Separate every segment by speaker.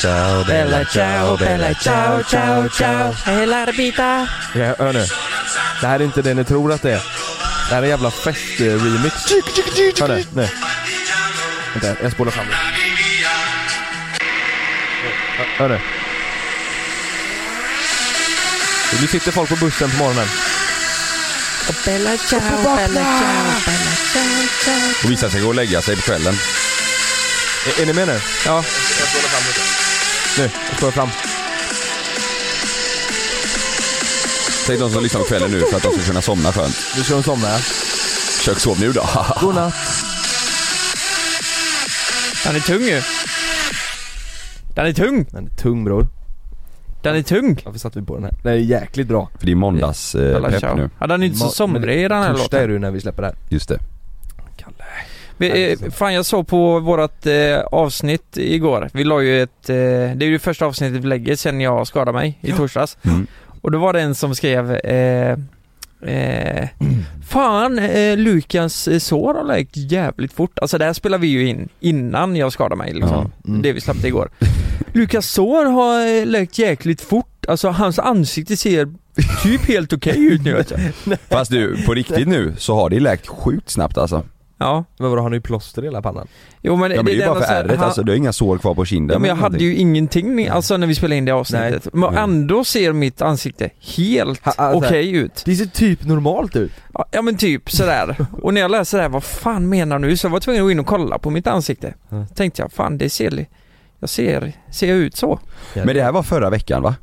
Speaker 1: Ciao
Speaker 2: Bella ciao, bella ciao, ciao, ciao. Hela bita.
Speaker 1: Okej, hör nu. Det här är inte det ni tror att det är. Det här är en jävla fest-remix. Hör nu, nu. Vänta, jag spolar fram det. Hör- Hör nu. Nu sitter folk på bussen på morgonen
Speaker 2: Och bella ciao, bella ciao, bella ciao, ciao.
Speaker 3: Och vissa ska gå och lägga sig på kvällen.
Speaker 1: Är, är ni med nu? Ja. Nu, jag spolar fram.
Speaker 3: Tänk de som lyssnar på kvällen nu för att de ska kunna somna skönt.
Speaker 1: Nu ska de somna ja.
Speaker 3: Försök sov nu då.
Speaker 1: Godnatt.
Speaker 4: Den är tung ju. Den är tung.
Speaker 1: Den är tung bror.
Speaker 4: Den är tung.
Speaker 1: Varför satte vi på den här? Den är jäkligt bra.
Speaker 3: För det är måndagspepp nu.
Speaker 4: Ja, den är inte så
Speaker 1: Ma- men
Speaker 4: somrig den här
Speaker 1: Torsdag
Speaker 4: låten.
Speaker 1: är det ju när vi släpper det här.
Speaker 3: Just det.
Speaker 4: Vi, eh, fan jag såg på vårat eh, avsnitt igår. Vi la ju ett, eh, det är ju det första avsnittet vi lägger sen jag skadade mig i torsdags.
Speaker 3: Mm.
Speaker 4: Och då var det en som skrev eh, eh, Fan, eh, Lukas eh, sår har läkt jävligt fort. Alltså det här spelar vi ju in innan jag skadade mig liksom.
Speaker 3: Ja.
Speaker 1: Mm.
Speaker 4: Det vi släppte igår. Lukas sår har eh, läkt jäkligt fort. Alltså hans ansikte ser typ helt okej ut nu vet jag.
Speaker 3: Fast du, på riktigt nu så har det läkt sjukt snabbt alltså.
Speaker 4: Ja.
Speaker 1: Men vadå, har ni ju plåster i hela pannan?
Speaker 4: Jo men,
Speaker 3: Ja men det är ju
Speaker 4: den
Speaker 3: bara för
Speaker 4: och så här,
Speaker 3: ärret
Speaker 4: han-
Speaker 3: alltså. Du har inga sår kvar på kinden.
Speaker 4: Ja, men jag hade ju ingenting alltså när vi spelade in det avsnittet. Men
Speaker 3: Nej.
Speaker 4: ändå ser mitt ansikte helt
Speaker 1: Ha- alltså-
Speaker 4: okej ut.
Speaker 1: Det ser typ normalt ut.
Speaker 4: Ja, Ja men typ sådär. Och när jag läser det här, vad fan menar du? Så jag var tvungen att gå in och kolla på mitt ansikte.
Speaker 1: Ja.
Speaker 4: Tänkte jag, fan det ser, li- jag ser, ser jag ut så?
Speaker 3: Men det här var förra veckan va?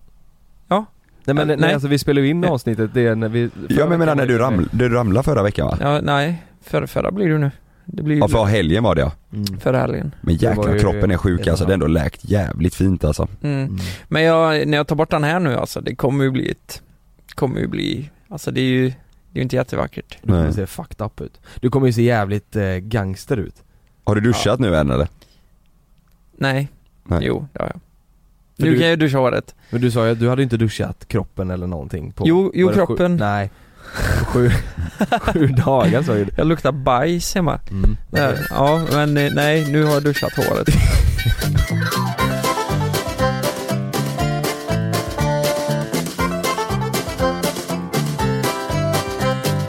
Speaker 1: Nej men
Speaker 4: Nej.
Speaker 1: nej, alltså vi spelar ju in
Speaker 4: Nej.
Speaker 1: avsnittet, det är när vi... Mm.
Speaker 3: Ja men jag menar när du, raml- du ramlade förra veckan va?
Speaker 4: Ja, nej, förra, förra blir det ju nu. Det blir ju
Speaker 3: Ja för helgen var det ja.
Speaker 1: Mm.
Speaker 4: förra helgen.
Speaker 3: Men
Speaker 1: Det var
Speaker 3: jäklar
Speaker 1: ju-
Speaker 3: kroppen är sjuk alltså. Det är ändå läkt jävligt fint alltså.
Speaker 4: Mm.
Speaker 1: Mm.
Speaker 4: Men jag, när jag tar bort den här nu alltså, det kommer ju bli ett, kommer ju bli, alltså det är ju, det är ju inte jättevackert.
Speaker 1: Du kommer
Speaker 3: Nej.
Speaker 1: se fucked up ut. Du kommer ju se jävligt eh, gangster ut.
Speaker 3: Har du duschat nu än eller?
Speaker 4: Nej,
Speaker 3: Nej.
Speaker 4: jo det har jag.
Speaker 1: För
Speaker 4: Nu
Speaker 1: du-
Speaker 4: kan jag ju duscha håret.
Speaker 1: Men du sa ju att du hade inte duschat kroppen eller någonting på...
Speaker 4: Jo- jo,
Speaker 1: var det sju-
Speaker 4: kroppen.
Speaker 1: nej. Sju, sju dagar sa ju du.
Speaker 4: Jag luktar bajs hemma.
Speaker 1: Mm.
Speaker 4: Där. Ja, men eh, nej, nu har jag duschat håret.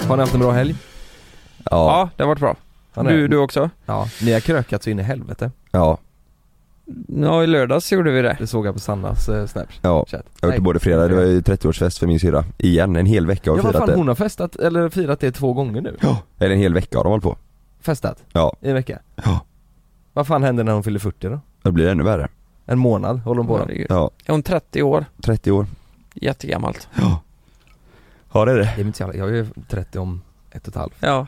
Speaker 1: Har ni haft en bra helg?
Speaker 3: Ja.
Speaker 4: Ja, det har varit bra.
Speaker 1: Har ni-
Speaker 4: Du, du också?
Speaker 1: Ja, ni har krökat så in i helvete.
Speaker 3: Ja.
Speaker 4: Ja, i lördags gjorde vi det.
Speaker 1: Det såg jag på Sannas eh, snaps.
Speaker 3: Ja.
Speaker 1: Chat.
Speaker 3: Jag har varit i både fredag, det var ju 30-årsfest för min syrra. Igen, en hel vecka har vi
Speaker 1: Ja vad
Speaker 3: firat
Speaker 1: fan
Speaker 3: det.
Speaker 1: hon har festat, eller firat det två gånger nu?
Speaker 3: Eller en hel vecka har de hållit på.
Speaker 1: Festat?
Speaker 3: Ja.
Speaker 1: I en vecka?
Speaker 3: Ja.
Speaker 1: Vad fan händer när hon fyller 40 då?
Speaker 3: Det blir ännu värre.
Speaker 1: En månad håller hon på då?
Speaker 4: Herregud.
Speaker 3: Ja,
Speaker 4: Är hon 30 år?
Speaker 3: 30 år.
Speaker 4: Jättegammalt.
Speaker 3: Har det det?
Speaker 1: Det är inte så jävla, jag är 30 om ett och ett halvt.
Speaker 4: Ja.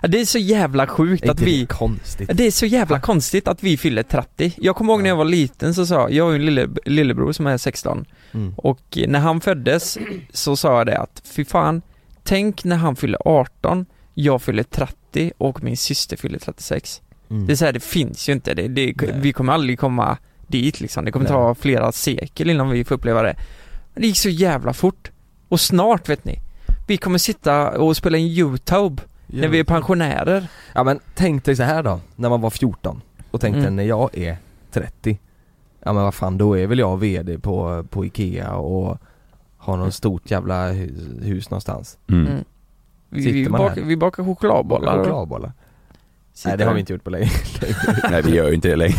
Speaker 4: Ja, Det är så jävla sjukt
Speaker 1: Är
Speaker 4: att
Speaker 1: inte det
Speaker 4: vi...
Speaker 1: konstigt?
Speaker 4: Det är så jävla konstigt att vi fyller 30. Jag kommer ihåg när jag var liten så sa, jag har ju en lille, lillebror som är 16
Speaker 1: Mm.
Speaker 4: och eh, när han föddes så sa jag det att fy fan, tänk när han fyller 18, jag fyller 30 och min syster fyller 36.
Speaker 1: Mm.
Speaker 4: Det är så här, det finns ju inte. Det, det,
Speaker 1: Nej.
Speaker 4: vi kommer aldrig komma dit liksom. Det kommer
Speaker 1: Nej.
Speaker 4: ta flera sekel innan vi får uppleva det. Men det gick så jävla fort. Och snart vet ni, vi kommer sitta och spela in YouTube när vi är pensionärer.
Speaker 1: Ja men tänk dig så här då, när man var 14 och tänkte
Speaker 4: Mm.
Speaker 1: när jag är 30 Ja men vad fan då är väl jag VD på, på Ikea och har någon stort jävla hus, hus någonstans
Speaker 3: Mm.
Speaker 4: Mm. Vi,
Speaker 1: Sitter
Speaker 4: vi,
Speaker 1: man
Speaker 4: bak,
Speaker 1: här?
Speaker 4: vi bakar chokladbollar. och
Speaker 1: Chokladbollar?
Speaker 4: sitter
Speaker 1: Nej det har vi
Speaker 4: där.
Speaker 1: inte gjort på länge
Speaker 3: Nej vi gör ju inte det längre.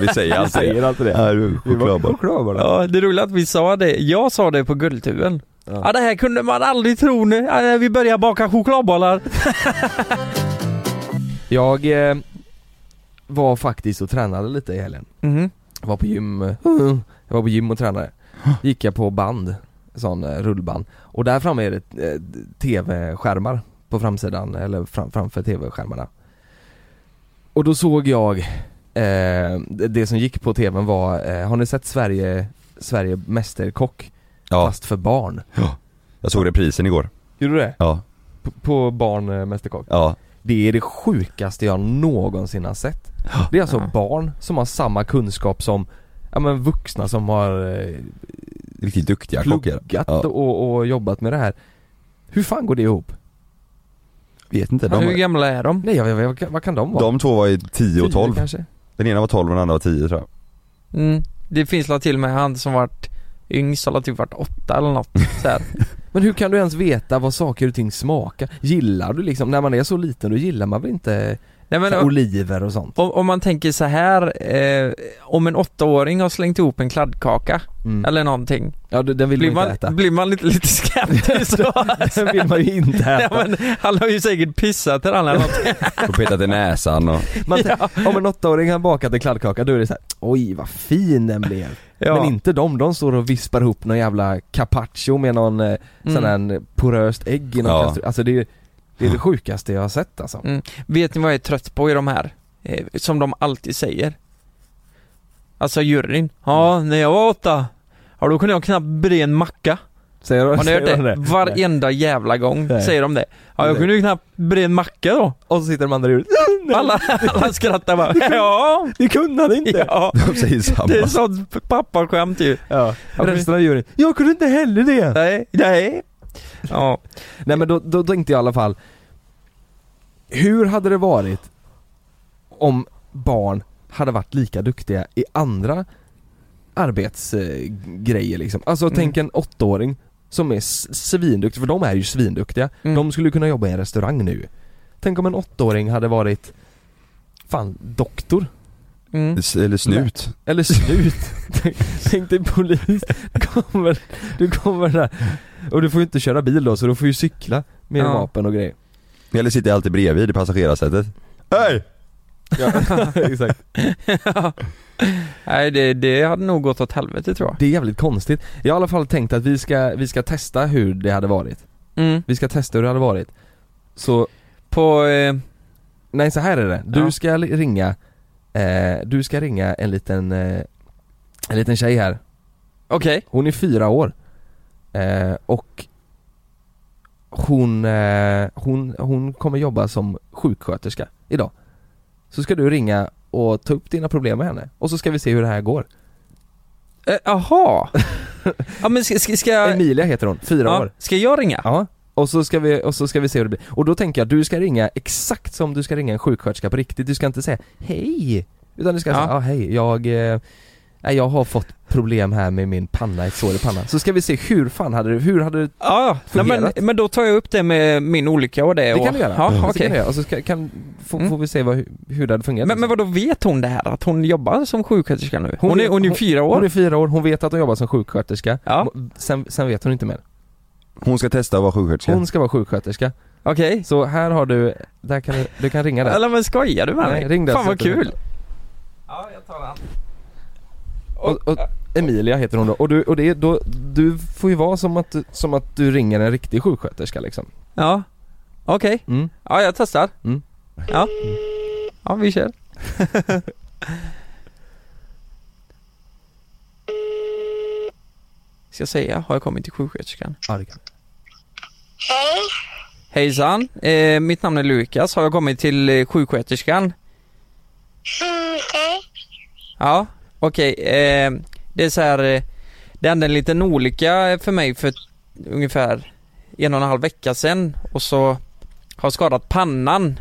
Speaker 3: Vi säger alltid
Speaker 1: Vi
Speaker 3: det.
Speaker 1: säger alltid det
Speaker 3: Ja, du,
Speaker 1: Vi var
Speaker 3: chokladboll.
Speaker 1: chokladbollar
Speaker 4: Ja, det är roligt att vi sa det. Jag sa det på guldtuben.
Speaker 1: Ja.
Speaker 4: Ja, det här kunde man aldrig tro nu. Ja, när vi börjar baka chokladbollar.
Speaker 1: Jag eh, var faktiskt och tränade lite i helgen
Speaker 4: Mhm.
Speaker 1: Jag var på gym, eh, jag var på gym och tränade Gick jag på band, sån eh, rullband Och där framme är det eh, tv-skärmar på framsidan, eller fram, framför tv-skärmarna Och då såg jag, eh, det- det som gick på tvn var, eh, har ni sett Sverige, Sverige Mästerkock?
Speaker 3: Ja,
Speaker 1: Fast för barn
Speaker 3: jag såg reprisen igår.
Speaker 1: Gjorde du det?
Speaker 3: Ja,
Speaker 1: På, på barn eh, Mästerkock?
Speaker 3: ja.
Speaker 1: Det är det sjukaste jag någonsin har sett Det är alltså
Speaker 4: Ja.
Speaker 1: barn som har samma kunskap som, ja men vuxna som har eh,
Speaker 3: Riktigt duktiga kockar.
Speaker 1: pluggat
Speaker 3: Ja.
Speaker 1: och, och jobbat med det här. Hur fan går det ihop?
Speaker 5: vet inte.
Speaker 4: Hur
Speaker 5: De,
Speaker 4: gamla är de?
Speaker 1: Nej jag, jag, jag, vad kan- vad kan de vara?
Speaker 5: de två var i 10 och
Speaker 1: Tio
Speaker 5: 12.
Speaker 1: kanske?
Speaker 5: Den ena var 12 och den andra var 10 tror jag.
Speaker 4: Mm. Det finns väl till och med han som varit yngst, han har typ varit åtta eller något så här.
Speaker 1: Men hur kan du ens veta vad saker och ting smakar? Gillar du liksom, när man är så liten då gillar man väl inte
Speaker 4: Nej, men,
Speaker 1: så här oliver och sånt?
Speaker 4: om, om man tänker så här eh, om en åttaåring har slängt ihop en kladdkaka
Speaker 1: Mm.
Speaker 4: eller någonting,
Speaker 1: Ja du- den vill
Speaker 4: blir
Speaker 1: man
Speaker 4: man,
Speaker 1: inte äta.
Speaker 4: blir man lite, lite skeptisk då?
Speaker 1: Den vill man ju inte
Speaker 4: Ja,
Speaker 1: äta.
Speaker 4: men, han har ju säkert pissat eller annat.
Speaker 3: Och petat i näsan och...
Speaker 1: Man, tänker, Om en åttaåring har bakat en kladdkaka då är det så här, oj vad fin den blev.
Speaker 4: Ja.
Speaker 1: Men inte de, de står och vispar ihop någon jävla carpaccio med någon eh,
Speaker 4: Mm.
Speaker 1: sån här poröst ägg i någon
Speaker 3: Ja.
Speaker 1: kastrull. Alltså det är, det är det sjukaste jag har sett alltså.
Speaker 4: Vet ni vad jag är trött på i de här? Eh, som de alltid säger. Alltså juryn. Ja,
Speaker 1: Mm.
Speaker 4: när jag var åtta, ja då kunde jag knappt bre en macka.
Speaker 1: Säger,
Speaker 4: Har ni hört
Speaker 1: säger de
Speaker 4: det? Varenda jävla gång
Speaker 1: Nej.
Speaker 4: säger de det. Ja, jag
Speaker 1: Nej.
Speaker 4: kunde ju knappt bre en macka då.
Speaker 1: Och så sitter de andra i Nej.
Speaker 4: Alla, alla skrattar bara. Ja,
Speaker 1: Ni kunde det inte!
Speaker 4: ja.
Speaker 5: De säger samma.
Speaker 4: Det är sånt pappaskämt ju.
Speaker 1: Ja.
Speaker 4: Ja, men-
Speaker 1: Resten av juryn, jag kunde inte heller det!
Speaker 4: Nej, nej. Ja,
Speaker 1: Nej men då, då tänkte jag i alla fall Hur hade det varit om barn hade varit lika duktiga i andra arbetsgrejer liksom? Alltså
Speaker 4: Mm.
Speaker 1: tänk en åttaåring som är s- svinduktig, för de är ju svinduktiga.
Speaker 4: Mm.
Speaker 1: De skulle ju kunna jobba i en restaurang nu. Tänk om en åttaåring hade varit Fan, doktor?
Speaker 4: mm.
Speaker 5: S- Eller snut.
Speaker 1: Eller slut? tänk, tänk dig polis, kommer, du kommer där och du får ju inte köra bil då så du får ju cykla med
Speaker 4: Ja.
Speaker 1: vapen och grejer.
Speaker 5: Eller sitter alltid bredvid i passagerarsätet. Hej!
Speaker 1: Exakt.
Speaker 4: nej det, det hade nog gått åt helvete tror jag.
Speaker 1: Det är jävligt konstigt. Jag har i alla fall tänkt att vi ska, vi ska testa hur det hade varit.
Speaker 4: Mm.
Speaker 1: Vi ska testa hur det hade varit. Så,
Speaker 4: På, eh,
Speaker 1: nej så här är det. Du
Speaker 4: Ja.
Speaker 1: ska li- ringa, eh, du ska ringa en liten, eh, en liten tjej här.
Speaker 4: okej.
Speaker 1: Hon är fyra år. Eh, och hon, eh, hon, hon kommer jobba som sjuksköterska idag. Så ska du ringa och ta upp dina problem med henne. Och så ska vi se hur det här går.
Speaker 4: Eh, Jaha! ja men ska, ska, ska jag...
Speaker 1: Emilia heter hon, fyra år.
Speaker 4: Ja, ska jag ringa?
Speaker 1: Ja, och så ska vi, och så ska vi se hur det blir. Och då tänker jag, du ska ringa exakt som du ska ringa en sjuksköterska på riktigt. Du ska inte säga hej, utan du ska
Speaker 4: Ja.
Speaker 1: säga ja hej, jag, eh, nej, jag har fått problem här med min panna, ett sår i pannan. Så ska vi se hur fan hade du, hur hade du,
Speaker 4: Ja, ja. Nej,
Speaker 1: Fungerat.
Speaker 4: men, men då tar jag upp det med min olycka och det.
Speaker 1: det
Speaker 4: och,
Speaker 1: kan du göra.
Speaker 4: Ja,
Speaker 1: Så kan
Speaker 4: okej.
Speaker 1: du göra. Och så ska, kan, får,
Speaker 4: Mm.
Speaker 1: får vi se vad, hur det hade fungerat.
Speaker 4: Men, men vadå, vet hon det här? Att hon jobbar som sjuksköterska nu?
Speaker 1: Hon
Speaker 4: Hon, är,
Speaker 1: vet-
Speaker 4: hon är ju fyra år.
Speaker 1: hon är fyra år, hon vet att hon jobbar som sjuksköterska.
Speaker 4: Ja.
Speaker 1: Sen, sen vet hon inte mer.
Speaker 5: Hon ska testa att vara sjuksköterska.
Speaker 1: Hon ska vara sjuksköterska.
Speaker 4: Okej.
Speaker 1: Så här har du, där kan du, du kan ringa där.
Speaker 4: Eller men skojar du med
Speaker 1: Nej,
Speaker 4: mig?
Speaker 1: ring där
Speaker 4: Fan
Speaker 1: så
Speaker 4: vad
Speaker 1: att du-
Speaker 4: kul! Ja, jag tar den.
Speaker 1: Och, och Emilia heter hon då, och, du, och det, är då, du får ju vara som att, du- som att du ringer en riktig sjuksköterska liksom
Speaker 4: Ja, okej.
Speaker 1: mm.
Speaker 4: Ja, jag testar.
Speaker 1: Mm.
Speaker 4: Ja. Ja, vi kör. Ska jag säga, har jag kommit till sjuksköterskan?
Speaker 1: Ja det kan
Speaker 6: Hej,
Speaker 4: Hejsan, eh, mitt namn är Lukas. Har jag kommit till eh, sjuksköterskan?
Speaker 6: Mm, hej.
Speaker 4: Ja, okej. Eh, det är så här, eh, det hände en liten olycka för mig för ungefär en och en halv vecka sedan och så har jag skadat pannan.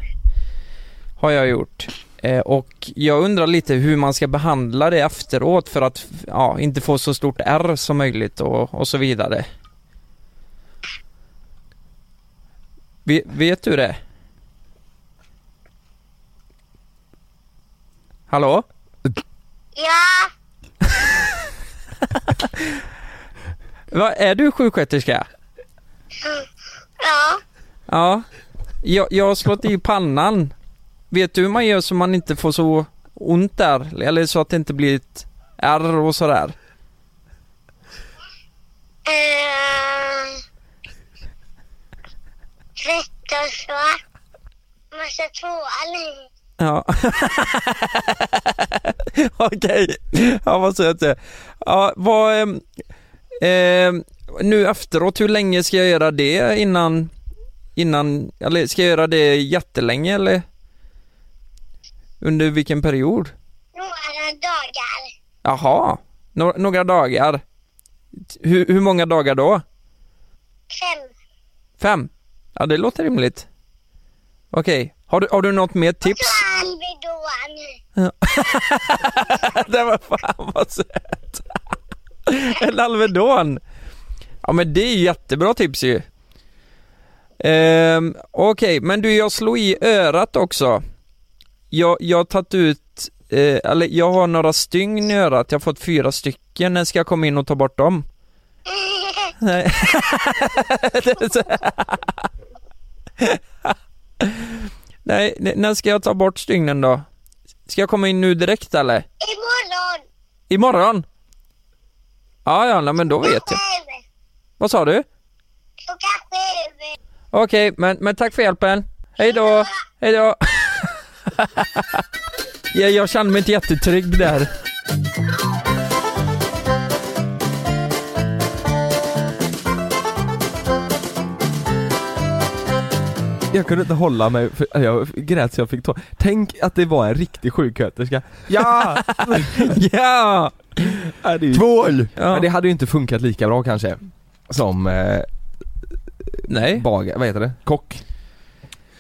Speaker 4: Har jag gjort. Eh, och jag undrar lite hur man ska behandla det efteråt för att ja, inte få så stort R som möjligt och, och så vidare. Ve- vet du det? Hallå?
Speaker 6: Ja,
Speaker 4: Va, är du sjuksköterska?
Speaker 6: ja.
Speaker 4: Ja. Jag, jag har slått i pannan. Vet du hur man gör så man inte får så ont där? Eller så att det inte blir ett ärr och sådär?
Speaker 6: Eh, Tvätt och så. Massa tvål i.
Speaker 4: Ja. Okej. Ja, vad söt du är. Ja, vad... ehm, ehm, nu efteråt, hur länge ska jag göra det innan... Innan... Eller ska jag göra det jättelänge eller? Under vilken period?
Speaker 6: några dagar.
Speaker 4: Jaha, Nå- några dagar. T- Hur, hur många dagar då?
Speaker 6: Fem.
Speaker 4: Fem? Ja, det låter rimligt. Okej, har, du, har du något mer tips?
Speaker 6: Fan vid dån.
Speaker 4: det var fan vad söt! en Alvedon! Ja men det är ju jättebra tips ju. Ehm, Okej, men du jag slog i örat också. Jag, jag har tagit ut, eh, eller jag har några stygn i örat, jag har fått fyra stycken, när ska jag komma in och ta bort dem? Nej. Det är så- Nej, n- när ska jag ta bort stygnen då? Ska jag komma in nu direkt eller?
Speaker 6: Imorgon.
Speaker 4: Imorgon? Ja, ja, nej, men då vet jag.
Speaker 6: Sju.
Speaker 4: Vad sa du?
Speaker 6: Klockan sju.
Speaker 4: Okej, men, men tack för hjälpen. Hej då! Hej då! ja, jag kände mig inte jättetrygg där.
Speaker 1: Jag kunde inte hålla mig, för jag grät så jag fick tå. Tänk att det var en riktig sjuksköterska. Ja! Ja,
Speaker 4: Ja!
Speaker 1: det är ju-
Speaker 5: Tvål!
Speaker 4: ja.
Speaker 1: Men det hade ju inte funkat lika bra kanske. Som eh,
Speaker 4: Nej.
Speaker 1: bagare, vad heter det? Kock.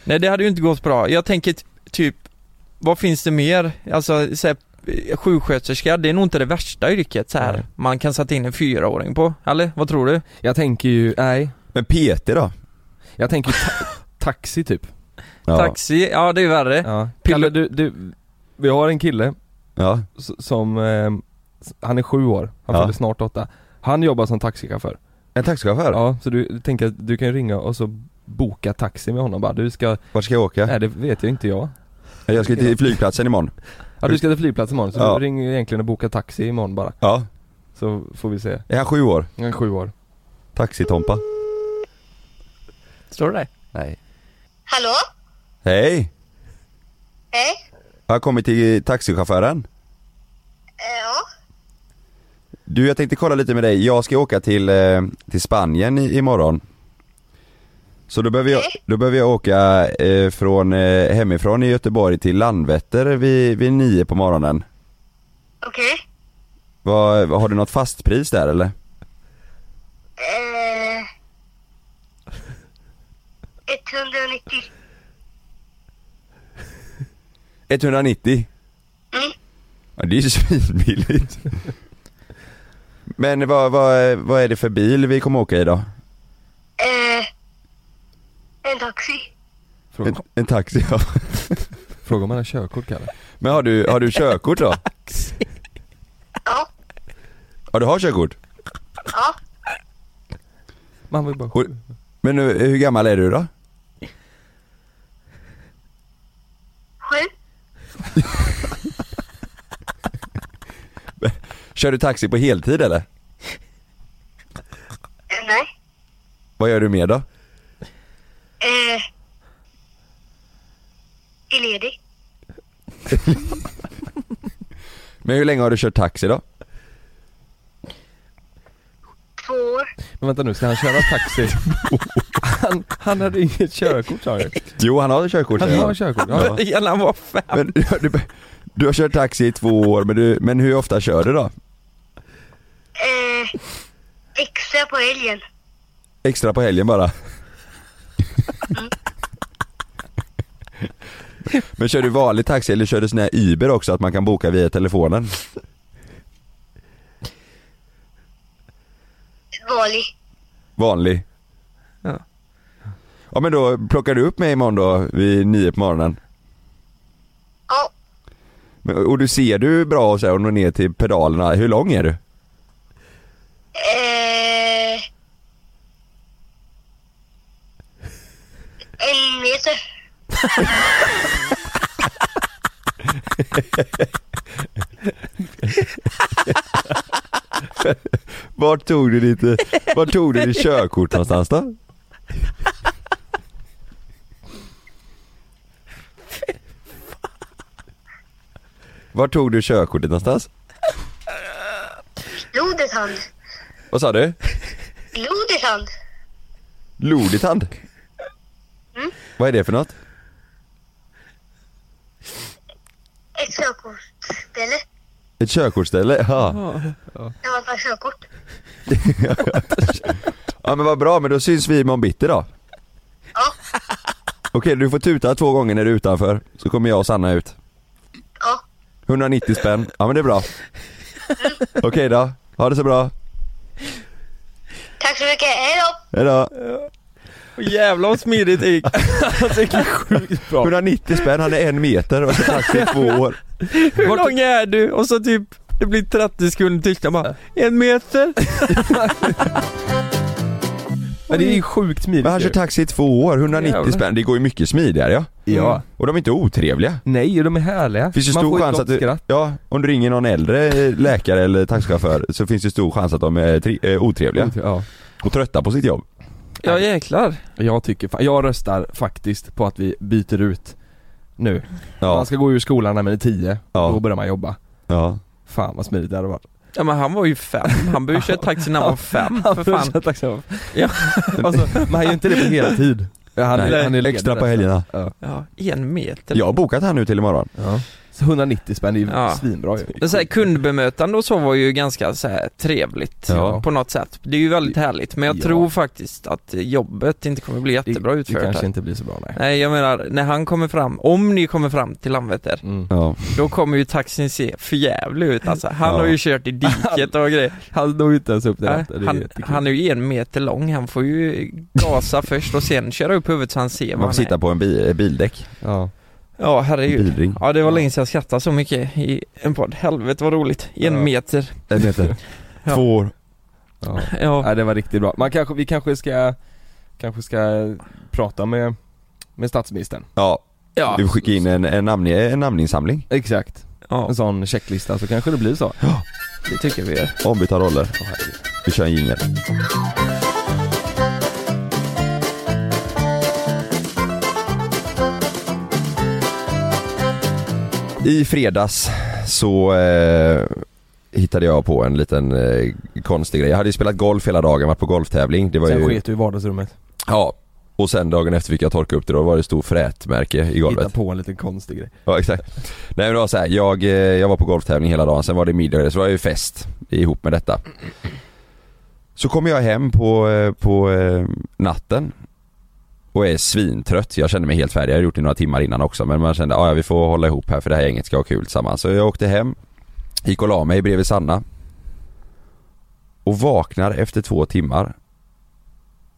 Speaker 4: nej, det hade ju inte gått bra. Jag tänker t- typ, vad finns det mer? Alltså, så här, eh, sjuksköterska, det är nog inte det värsta yrket så här.
Speaker 1: Nej.
Speaker 4: man kan sätta in en fyraåring på. Eller vad tror du?
Speaker 1: Jag tänker ju, nej.
Speaker 5: Men PT då?
Speaker 1: Jag tänker ju ta- taxi typ.
Speaker 5: Ja.
Speaker 4: Taxi, ja det är värre.
Speaker 1: Ja. Kalle, du, du, vi har en kille
Speaker 5: Ja.
Speaker 1: s- som, eh, s- han är sju år, han
Speaker 5: Ja.
Speaker 1: fyller snart åtta. Han jobbar som taxichaufför.
Speaker 5: En taxichaufför?
Speaker 1: Ja, så du tänker att du kan ringa och så boka taxi med honom bara. Du ska,
Speaker 5: Vart ska jag åka?
Speaker 3: Äh.
Speaker 1: nej det vet jag inte jag.
Speaker 5: Jag ska till flygplatsen imorgon.
Speaker 1: Ja du ska till flygplatsen imorgon, så
Speaker 5: Ja.
Speaker 1: du ringer egentligen och boka taxi imorgon bara.
Speaker 5: Ja.
Speaker 1: Så får vi se.
Speaker 5: Är han sju år?
Speaker 1: Han är sju år.
Speaker 5: Taxitompa?
Speaker 4: Står det det?
Speaker 5: Nej.
Speaker 6: Hallå?
Speaker 5: Hej!
Speaker 6: Hej.
Speaker 5: Jag har kommit till taxichauffören.
Speaker 6: Eh, Ja.
Speaker 5: Du, jag tänkte kolla lite med dig. Jag ska åka till, eh, till Spanien i, imorgon. Så då behöver jag, då behöver jag åka eh, från, eh, hemifrån i Göteborg till Landvetter vid, vid nio på morgonen.
Speaker 6: Okej.
Speaker 5: Vad, vad- har du något fastpris där eller?
Speaker 6: Eh, 190.
Speaker 5: 190?
Speaker 6: Mm.
Speaker 5: Ja, det är ju svinbilligt. Men vad, vad, vad är det för bil vi kommer åka i då?
Speaker 6: Eh, en taxi.
Speaker 1: Fråga,
Speaker 5: En, en taxi ja.
Speaker 1: fråga om han har körkort Kalle.
Speaker 5: Men har du, har du körkort då?
Speaker 6: Ja.
Speaker 5: Ja du har körkort?
Speaker 6: Ja.
Speaker 1: Men han var ju bara
Speaker 5: Och- Men eh, hur gammal är du då?
Speaker 6: Sju.
Speaker 5: Kör du taxi på heltid eller?
Speaker 6: Eh, nej.
Speaker 5: Vad gör du mer då?
Speaker 6: Eh, är ledig.
Speaker 5: Men hur länge har du kört taxi då?
Speaker 6: Två år.
Speaker 1: Men vänta nu, ska han köra taxi? Han, han hade inget körkort sa han ju.
Speaker 5: Jo han har körkort
Speaker 1: Han
Speaker 5: säger
Speaker 1: har körkort, ja.
Speaker 4: Gärna var fem.
Speaker 5: Men du, du, du har kört taxi i två år men, du, men hur ofta kör du då?
Speaker 6: Eh, extra på helgen.
Speaker 5: Extra på helgen bara? Men kör du vanlig taxi eller kör du sån här Uber också att man kan boka via telefonen?
Speaker 6: Vanlig.
Speaker 5: Vanlig?
Speaker 4: Ja.
Speaker 5: Ja men då plockar du upp mig imorgon då vid nio på morgonen?
Speaker 6: Ja.
Speaker 5: Men- Och du ser du bra och så här, och når ner till pedalerna, hur lång är du?
Speaker 6: Eh, en meter.
Speaker 5: Vart tog du ditt, eh, vart tog du ditt körkort någonstans då? Vart tog du körkortet någonstans?
Speaker 6: Lodethand.
Speaker 5: Vad sa du?
Speaker 6: Lodethand.
Speaker 5: Loditand? Vad är det för något?
Speaker 6: Ett körkortsställe.
Speaker 5: Ett körkortsställe? Ja.
Speaker 6: När man tar körkort.
Speaker 5: ja men vad bra, men då syns vi imorgon bitti då.
Speaker 6: Ja.
Speaker 5: Okej, du får tuta två gånger när du är utanför, så kommer jag och Sanna ut.
Speaker 6: Ja.
Speaker 5: 190 spänn, ja men det är bra. Okej då, ha det så bra.
Speaker 6: Tack så mycket, hejdå!
Speaker 5: Hejdå.
Speaker 4: Och jävlar vad smidigt det gick. Alltså, vilken sjuk-
Speaker 5: 190 spänn, han är en meter och har taxi i två år.
Speaker 4: Hur lång är du? Och så typ, det blir 30 sekunder tyst. bara, en meter.
Speaker 1: Men det är ju sjukt smidigt
Speaker 5: Men han kör
Speaker 1: ju.
Speaker 5: taxi i två år, 190
Speaker 1: Jävlar.
Speaker 5: spänn, det går ju mycket smidigare ja.
Speaker 1: Ja.
Speaker 5: Och de är inte otrevliga.
Speaker 1: Mm. Nej, de är härliga.
Speaker 5: Finns ju
Speaker 1: Man
Speaker 5: stor
Speaker 1: får ju ett
Speaker 5: chans
Speaker 1: gott
Speaker 5: att du,
Speaker 1: skratt.
Speaker 5: ja, om du ringer någon äldre eh, läkare eller taxichaufför så finns det stor chans att de är tri- eh, otrevliga
Speaker 1: liksom. Ja.
Speaker 5: och trötta på sitt jobb.
Speaker 4: Ja jäklar.
Speaker 1: Jag tycker, fa- jag röstar faktiskt på att vi byter ut nu.
Speaker 5: Ja,
Speaker 1: Man ska gå ur skolan när man är 10,
Speaker 5: Ja.
Speaker 1: då börjar man jobba.
Speaker 5: ja.
Speaker 1: Fan vad smidigt det hade varit.
Speaker 4: Ja men han var ju fem, han började köra taxi när han var fem för fan.
Speaker 1: fan.
Speaker 4: Ja.
Speaker 1: alltså, men han gör inte det på heltid. Ja, Han,
Speaker 5: Nej,
Speaker 1: han är ledig
Speaker 5: extra på
Speaker 1: resten.
Speaker 5: helgerna.
Speaker 1: Ja.
Speaker 4: Ja, en meter.
Speaker 5: Jag har bokat han nu till imorgon.
Speaker 1: Ja. Så 190 spänn, det är ju
Speaker 4: Ja.
Speaker 1: svinbra ju.
Speaker 4: Men så här, kundbemötande och så var ju ganska så här, trevligt
Speaker 5: Ja.
Speaker 4: på något sätt. Det är ju väldigt härligt men jag
Speaker 1: Ja.
Speaker 4: tror faktiskt att jobbet inte kommer bli jättebra
Speaker 1: Det
Speaker 4: utfört
Speaker 1: kanske
Speaker 4: här.
Speaker 1: inte blir så bra nej.
Speaker 4: Nej jag menar, när han kommer fram, om ni kommer fram till Landvetter,
Speaker 1: Mm.
Speaker 5: Ja.
Speaker 4: då kommer ju taxin se förjävlig ut alltså. Han
Speaker 5: Ja.
Speaker 4: har ju kört i diket och grejer.
Speaker 1: Han når ju inte ens upp till
Speaker 4: Nej,
Speaker 1: detta, det är
Speaker 4: han,
Speaker 1: jättekul.
Speaker 4: han är ju en meter lång, han får ju gasa först och sen köra upp huvudet så han ser
Speaker 5: Man
Speaker 4: vad
Speaker 5: får
Speaker 4: han
Speaker 5: sitta
Speaker 4: är.
Speaker 5: på en bi- eh, bildäck,
Speaker 1: Ja.
Speaker 4: Ja herregud.
Speaker 5: bilring.
Speaker 4: Ja det var länge sedan jag skrattade så mycket i en podd. Helvete vad roligt. En
Speaker 1: Ja.
Speaker 4: meter.
Speaker 5: En meter.
Speaker 4: Ja.
Speaker 5: Två år.
Speaker 1: Ja.
Speaker 4: Ja.
Speaker 1: Nej, det var riktigt bra. Man kanske, vi kanske ska, kanske ska prata med, med statsministern.
Speaker 5: Ja,
Speaker 4: ja.
Speaker 5: du skickar in en, en, namn, en namninsamling.
Speaker 1: Exakt.
Speaker 4: Ja,
Speaker 1: En sån checklista så kanske det blir så.
Speaker 4: det tycker vi gör.
Speaker 5: Ombytta roller. Vi kör en jingel. I fredags så eh, hittade jag på en liten eh, konstig grej. Jag hade ju spelat golf hela dagen, varit på golftävling. Det var
Speaker 1: Sen
Speaker 5: ju...
Speaker 1: sket du i vardagsrummet.
Speaker 5: Ja. Och sen dagen efter fick jag torka upp det, då var det stor frätmärke i golvet.
Speaker 1: Hitta på en liten konstig grej.
Speaker 5: Ja exakt. Nej men det var så här, jag, eh, jag var på golftävling hela dagen, sen var det middag så var det ju fest ihop med detta. Så kommer jag hem på, eh, på eh, natten och är svintrött. Jag kände mig helt färdig, jag hade gjort det några timmar innan också men man kände "Ah, ja vi får hålla ihop här för det här gänget ska ha kul tillsammans. Så jag åkte hem, gick och la mig bredvid Sanna och vaknar efter två timmar.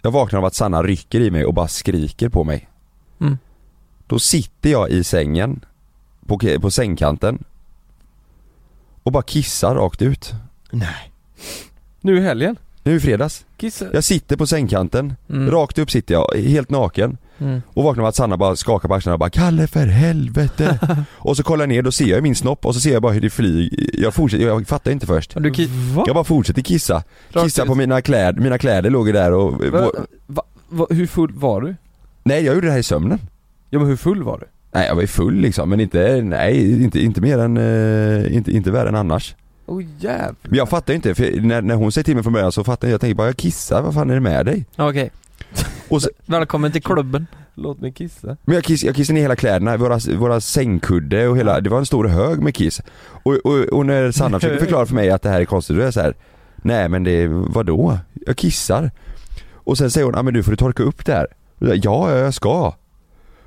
Speaker 5: Jag vaknar av att Sanna rycker i mig och bara skriker på mig.
Speaker 4: Mm.
Speaker 5: Då sitter jag i sängen på, på sängkanten och bara kissar rakt ut.
Speaker 1: Nu i helgen,
Speaker 5: Nu i fredags.
Speaker 1: kissa.
Speaker 5: Jag sitter på sängkanten,
Speaker 4: Mm.
Speaker 5: rakt upp sitter jag, helt naken.
Speaker 4: Mm.
Speaker 5: Och vaknar med att Sanna bara skakar på axlarna och bara 'Kalle för helvete' Och så kollar jag ner, då ser jag min snopp och så ser jag bara hur det flyger. Jag fortsätter, jag fattar inte först.
Speaker 4: Och Du ki-
Speaker 1: Va?
Speaker 5: Jag bara fortsätter kissa. Kissa
Speaker 1: ut.
Speaker 5: på mina kläder, mina kläder låg ju där och...
Speaker 1: Va, va, va, hur full var du?
Speaker 5: Nej jag gjorde det här i sömnen.
Speaker 1: Ja men hur full var du?
Speaker 5: Nej jag var ju full liksom men inte, nej inte, inte mer än, eh, inte, inte värre än annars.
Speaker 1: Åh oh,
Speaker 5: Men jag fattar inte, för när, när hon säger till mig från början så fattar jag, jag tänker bara jag kissar, vad fan är det med dig?
Speaker 4: Okej.
Speaker 5: Och så-
Speaker 4: Välkommen till klubben.
Speaker 1: Låt mig kissa.
Speaker 5: Men jag, kiss, jag kissade ner hela kläderna, våra, våra sängkudde och hela, det var en stor hög med kiss. Och, och, och när Sanna försöker förklara för mig att det här är konstigt, då är jag så här. nej men det, vadå? Jag kissar. Och sen säger hon, ja men du får du torka upp det här. Och jag, ja, ja jag ska.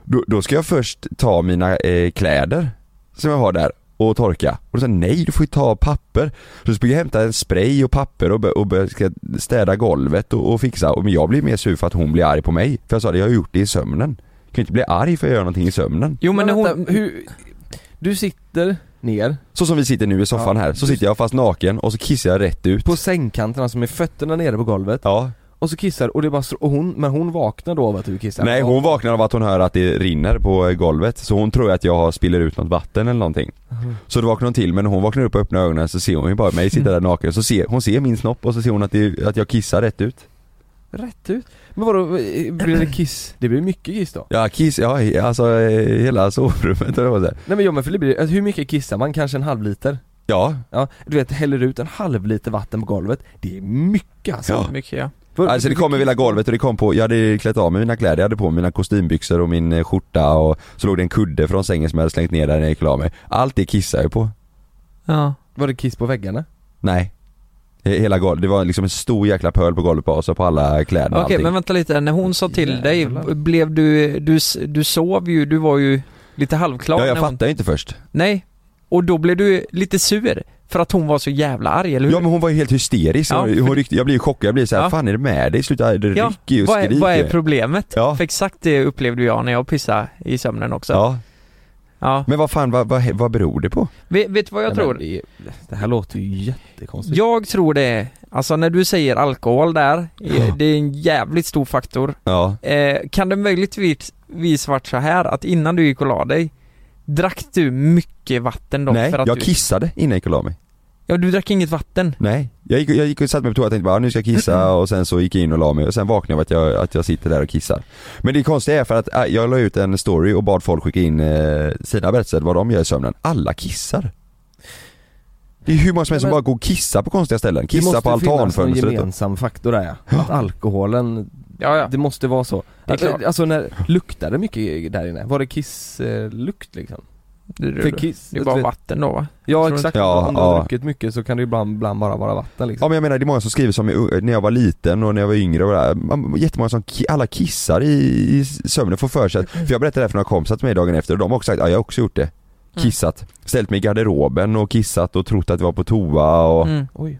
Speaker 5: Då, då ska jag först ta mina eh, kläder som jag har där och torka. Och då sa jag, nej du får ju ta papper. Så sprang jag och hämtade en spray och papper och, bör, och bör, ska städa golvet och, och fixa. Och, men jag blir mer sur för att hon blir arg på mig. För jag sa det, jag har gjort det i sömnen. Jag kan ju inte bli arg för att jag gör någonting i sömnen.
Speaker 4: Jo men,
Speaker 1: Men vänta,
Speaker 4: hon...
Speaker 1: hur, du sitter ner
Speaker 5: Så som vi sitter nu i soffan
Speaker 1: Ja.
Speaker 5: här, så sitter jag fast naken och så kissar jag rätt ut.
Speaker 1: på sängkanten, alltså med fötterna nere på golvet
Speaker 5: Ja.
Speaker 1: och så kissar och det bara str- och hon, men hon vaknar då av att du kissar?
Speaker 5: Nej hon vaknar av att hon hör att det rinner på eh, golvet. Så hon tror att jag har- spiller ut något vatten eller någonting. Så då vaknar hon till men när hon vaknar upp och öppnar ögonen så ser hon ju bara mig sitta där naken. Så ser, hon ser min snopp och så ser hon att, det, att jag kissar rätt ut.
Speaker 1: Rätt ut. Men vadå, eh, blir det kiss? Det blir mycket kiss då?
Speaker 5: Ja kiss, ja he- alltså eh, hela sovrummet eller vad man säger.
Speaker 1: Nej men jag men för det blir, alltså, hur mycket kissar man? Kanske en halv liter?
Speaker 5: Ja,
Speaker 1: Ja, du vet häller ut en halv liter vatten på golvet, det är mycket alltså.
Speaker 5: Ja.
Speaker 4: Mycket ja.
Speaker 1: Vad-
Speaker 5: Alltså det kom över hela golvet och det kom på, jag hade klätt av mig mina kläder, jag hade på mig mina kostymbyxor och min eh, skjorta och så låg det en kudde från sängen som jag hade slängt ner där när jag gick och la mig. Allt det kissade jag ju på.
Speaker 4: ja.
Speaker 1: Var det kiss på väggarna?
Speaker 5: Nej. He- Hela golvet, det var liksom en stor jäkla pöl på golvet på oss och på alla kläderna
Speaker 4: Okej
Speaker 5: och allting.
Speaker 4: men vänta lite, när hon sa till dig,
Speaker 1: Jävlar.
Speaker 4: blev du, du, s- du sov ju, du var ju lite halvklar
Speaker 5: Ja jag
Speaker 4: när hon,
Speaker 5: fattade inte först.
Speaker 4: Nej, och då blev du lite sur för att hon var så jävla arg, eller hur?
Speaker 5: Ja men hon var ju helt hysterisk,
Speaker 4: Ja,
Speaker 5: hon,
Speaker 4: för-
Speaker 5: hon ryckte, jag blir ju chockad, jag blir såhär,
Speaker 4: Ja.
Speaker 5: fan är det med dig? Sluta, du
Speaker 4: Ja,
Speaker 5: rycker ju och
Speaker 4: vad, är,
Speaker 5: skriker.
Speaker 4: vad är problemet?
Speaker 5: Ja.
Speaker 4: För exakt det upplevde jag när jag pissade i sömnen också. Ja.
Speaker 5: ja. Men vad fan, vad, vad, vad beror det på?
Speaker 4: Vet, vet du vad jag
Speaker 1: Nej,
Speaker 4: tror?
Speaker 1: men Det, det här låter ju jättekonstigt.
Speaker 4: Jag tror det är, alltså när du säger alkohol där, eh, det är en jävligt stor faktor.
Speaker 5: Ja.
Speaker 4: Eh, kan det möjligtvis vis varit så här att innan du gick och la dig, drack du mycket vatten då?
Speaker 5: Nej,
Speaker 4: för att
Speaker 5: jag
Speaker 4: du,
Speaker 5: kissade innan jag gick och la mig.
Speaker 4: Ja, du drack inget vatten.
Speaker 5: Nej, jag gick, jag gick och satte mig på toa och tänkte bara "Ah, nu ska jag kissa och sen så gick jag in och la mig och sen vaknade jag av att jag, att jag sitter där och kissar. Men det konstiga är för att äh, jag la ut en story och bad folk skicka in eh, sina berättelser vad de gör i sömnen. Alla kissar. Det är hur många som helst som
Speaker 1: Men-
Speaker 5: bara går och kissar på konstiga ställen.
Speaker 1: det
Speaker 5: Kissa
Speaker 1: måste
Speaker 5: på
Speaker 1: finnas någon
Speaker 5: altanfönstret. och-
Speaker 1: gemensam faktor där ja. Att alkoholen,
Speaker 4: Ja, ja.
Speaker 1: det måste vara så.
Speaker 4: Det är klart.
Speaker 1: Alltså när, luktade det mycket där inne? Var det kisslukt liksom?
Speaker 4: Det, det,
Speaker 1: För
Speaker 4: det,
Speaker 1: kiss,
Speaker 4: är bara vatten då va?
Speaker 1: Ja
Speaker 4: Tror du
Speaker 1: exakt,
Speaker 5: inte? Ja,
Speaker 1: om du har
Speaker 5: ja.
Speaker 1: druckit mycket så kan det ibland, ibland bara vara vatten liksom.
Speaker 5: Ja men jag menar det är många som skriver som i- när jag var liten och när jag var yngre och det där. Man- Jättemånga som, ki- alla kissar i, i sömnen får för sig att, för jag berättade det här för några kompisar till mig dagen efter och de har också sagt ja jag har också gjort det. Kissat, ställt mig i garderoben och kissat och trott att det var på toa och
Speaker 4: Mm.
Speaker 1: Oj.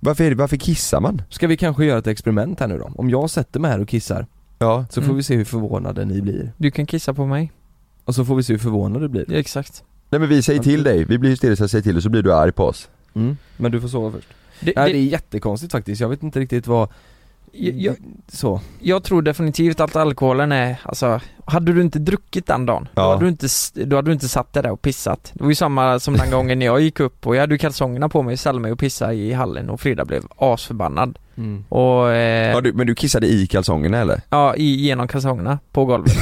Speaker 5: varför, är det, varför kissar man?
Speaker 1: Ska vi kanske göra ett experiment här nu då? Om jag sätter mig här och kissar
Speaker 5: Ja.
Speaker 1: så får
Speaker 4: Mm.
Speaker 1: vi se hur förvånade ni blir.
Speaker 4: Du kan kissa på mig.
Speaker 1: Och så får vi se hur förvånade du blir.
Speaker 4: Ja, exakt.
Speaker 5: Nej men vi säger till dig, vi blir hysteriska säger till dig så blir du arg på oss.
Speaker 1: Mm. Men du får sova först.
Speaker 4: Det,
Speaker 1: Nej
Speaker 4: det,
Speaker 1: det är jättekonstigt faktiskt, jag vet inte riktigt vad,
Speaker 4: jag, jag,
Speaker 1: så.
Speaker 4: jag tror definitivt att alkoholen är, alltså, hade du inte druckit den dagen, då,
Speaker 5: Ja.
Speaker 4: hade du inte, s- då hade du inte satt dig där och pissat. Det var ju samma som den gången när jag gick upp och jag hade ju kalsongerna på mig, ställde mig och pissade i hallen och Frida blev asförbannad.
Speaker 1: Mm.
Speaker 4: Och, eh,
Speaker 5: Ja, du, men du kissade i kalsongerna eller?
Speaker 4: Ja, i, genom kalsongerna på golvet.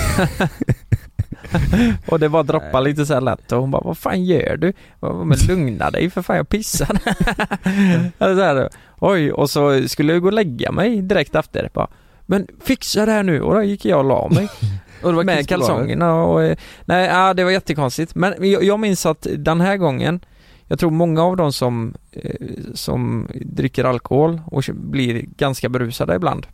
Speaker 4: och det bara droppade lite så här lätt och hon bara Vad fan gör du? Jag bara, Men lugna dig för fan jag pissar. Eller så här, Oj, och så skulle jag gå och lägga mig direkt efter. Bara, men fixa det här nu och då gick jag och la mig
Speaker 1: Och det var
Speaker 4: med
Speaker 1: kiss på golvet.
Speaker 4: kalsongerna och eh, Nej, ja, det var jättekonstigt. Men jag, jag minns att den här gången jag tror många av de som, eh, som dricker alkohol och blir ganska berusade ibland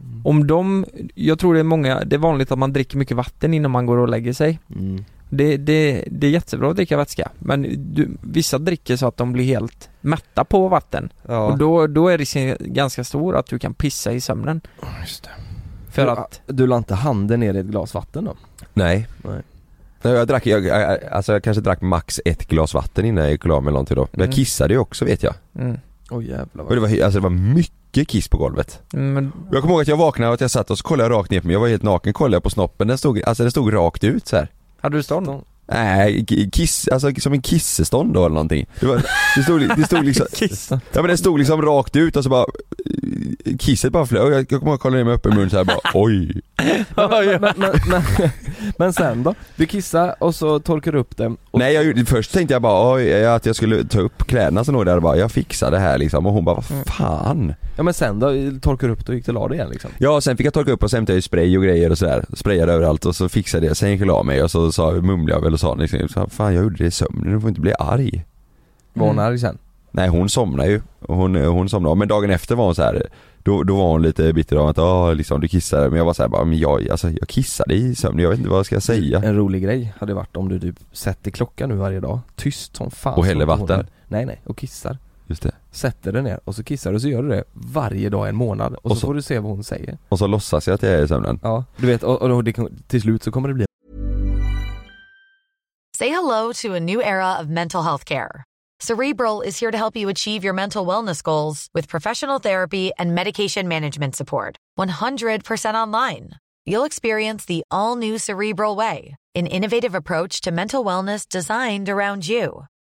Speaker 1: Mm.
Speaker 4: om de, jag tror det är många, det är vanligt att man dricker mycket vatten innan man går och lägger sig.
Speaker 1: Mm.
Speaker 4: Det, det, det är jättebra att dricka vätska, men du, vissa dricker så att de blir helt mätta på vatten.
Speaker 1: Ja.
Speaker 4: Och då, då är risken ganska stor att du kan pissa i sömnen.
Speaker 1: Just det.
Speaker 4: För
Speaker 1: du,
Speaker 4: att,
Speaker 1: Du la inte handen ner i ett glas vatten då?
Speaker 5: Nej.
Speaker 1: Nej.
Speaker 5: Nej jag drack, jag, jag- alltså jag kanske drack max ett glas vatten innan jag gick och la mig eller någonting då. Men
Speaker 4: Mm.
Speaker 5: jag kissade ju också vet jag.
Speaker 4: mm,
Speaker 1: Åh oh, jävlar
Speaker 5: Och det var, alltså det var mycket kiss på golvet.
Speaker 4: men,
Speaker 5: Och Jag kommer ihåg att jag vaknade och att jag satt och så kollade jag rakt ner på mig, jag var helt naken, kollade jag på snoppen, den stod, alltså den stod rakt ut så här.
Speaker 4: hade du stånd?
Speaker 5: Nej, k- kiss, alltså som en kissestånd då eller någonting. Det, var, det, stod, det stod liksom,
Speaker 4: Kissa.
Speaker 5: ja men den stod liksom rakt ut och så bara, eh, kisset bara flög. Jag, jag kommer ihåg att kolla ner med öppen mun så här bara, oj.
Speaker 1: Men, men, men, men, men sen då? Du kissar och så torkar du upp den och
Speaker 5: Nej jag gjorde, först tänkte jag bara, oj, eh, att jag skulle ta upp kläderna som låg där och bara, jag fixar det här liksom. Och hon bara, vad fan?
Speaker 1: Ja men sen då, torkar du upp det och gick till och la dig igen liksom?
Speaker 5: Ja, sen fick jag torka upp och så hämtade jag ju spray och grejer och sådär. Sprayade överallt och så fixade jag, sen gick jag och la mig och så sa, mumlade jag väl och sa liksom, så här, fan jag gjorde det i sömnen, du får inte bli arg.
Speaker 1: Var hon
Speaker 4: Mm.
Speaker 1: arg sen?
Speaker 5: Nej hon somnade ju, hon, hon somnade, men dagen efter var hon så här. Då, då var hon lite bitter av att ah, liksom, du kissade, men jag var såhär bara, men jag, alltså, jag kissade i sömnen, jag vet inte vad jag ska säga
Speaker 1: En rolig grej hade varit om du typ sätter klockan nu varje dag, tyst som fan
Speaker 5: Och häller
Speaker 1: som på
Speaker 5: vatten.
Speaker 1: morgonen. Nej nej, och kissar
Speaker 5: Just det.
Speaker 1: Sätter den ner och så kissar du så gör du det varje dag en månad och,
Speaker 5: Och
Speaker 1: så,
Speaker 5: så-
Speaker 1: får du se vad hon säger
Speaker 5: Och så låtsas jag att jag är i sömnen
Speaker 1: Ja, du vet och, och då- det, kan- till slut så kommer det bli
Speaker 7: Say hello to a new era of mental health care. Cerebral is here to help you achieve your mental wellness goals with professional therapy and medication management support. 100% online. You'll experience the all new Cerebral Way, an innovative approach to mental wellness designed around you.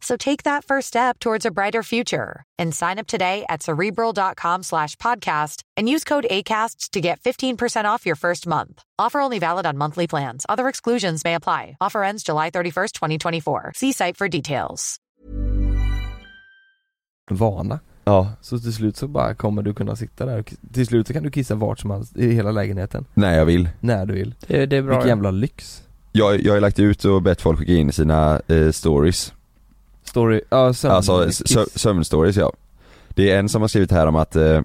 Speaker 7: So take that first step towards a brighter future and sign up today at cerebral.com slash podcast and use code ACAST to get 15% off your first month. Offer only valid on monthly plans. Other exclusions may apply. Offer ends July 31st, 2024. See site for details.
Speaker 1: vana.
Speaker 5: Ja.
Speaker 1: Så till slut så bara kommer du kunna sitta där och till slut så kan du kissa vart som helst i hela lägenheten.
Speaker 5: När jag vill.
Speaker 1: När du vill.
Speaker 4: Det, det är bra.
Speaker 1: Vilken jävla lyx.
Speaker 5: Jag, jag har lagt ut och bett folk skicka in sina eh, stories.
Speaker 1: Story, ja sömn,
Speaker 5: alltså
Speaker 1: kiss.
Speaker 5: sö- sömnstories ja. Det är en som har skrivit här om att eh,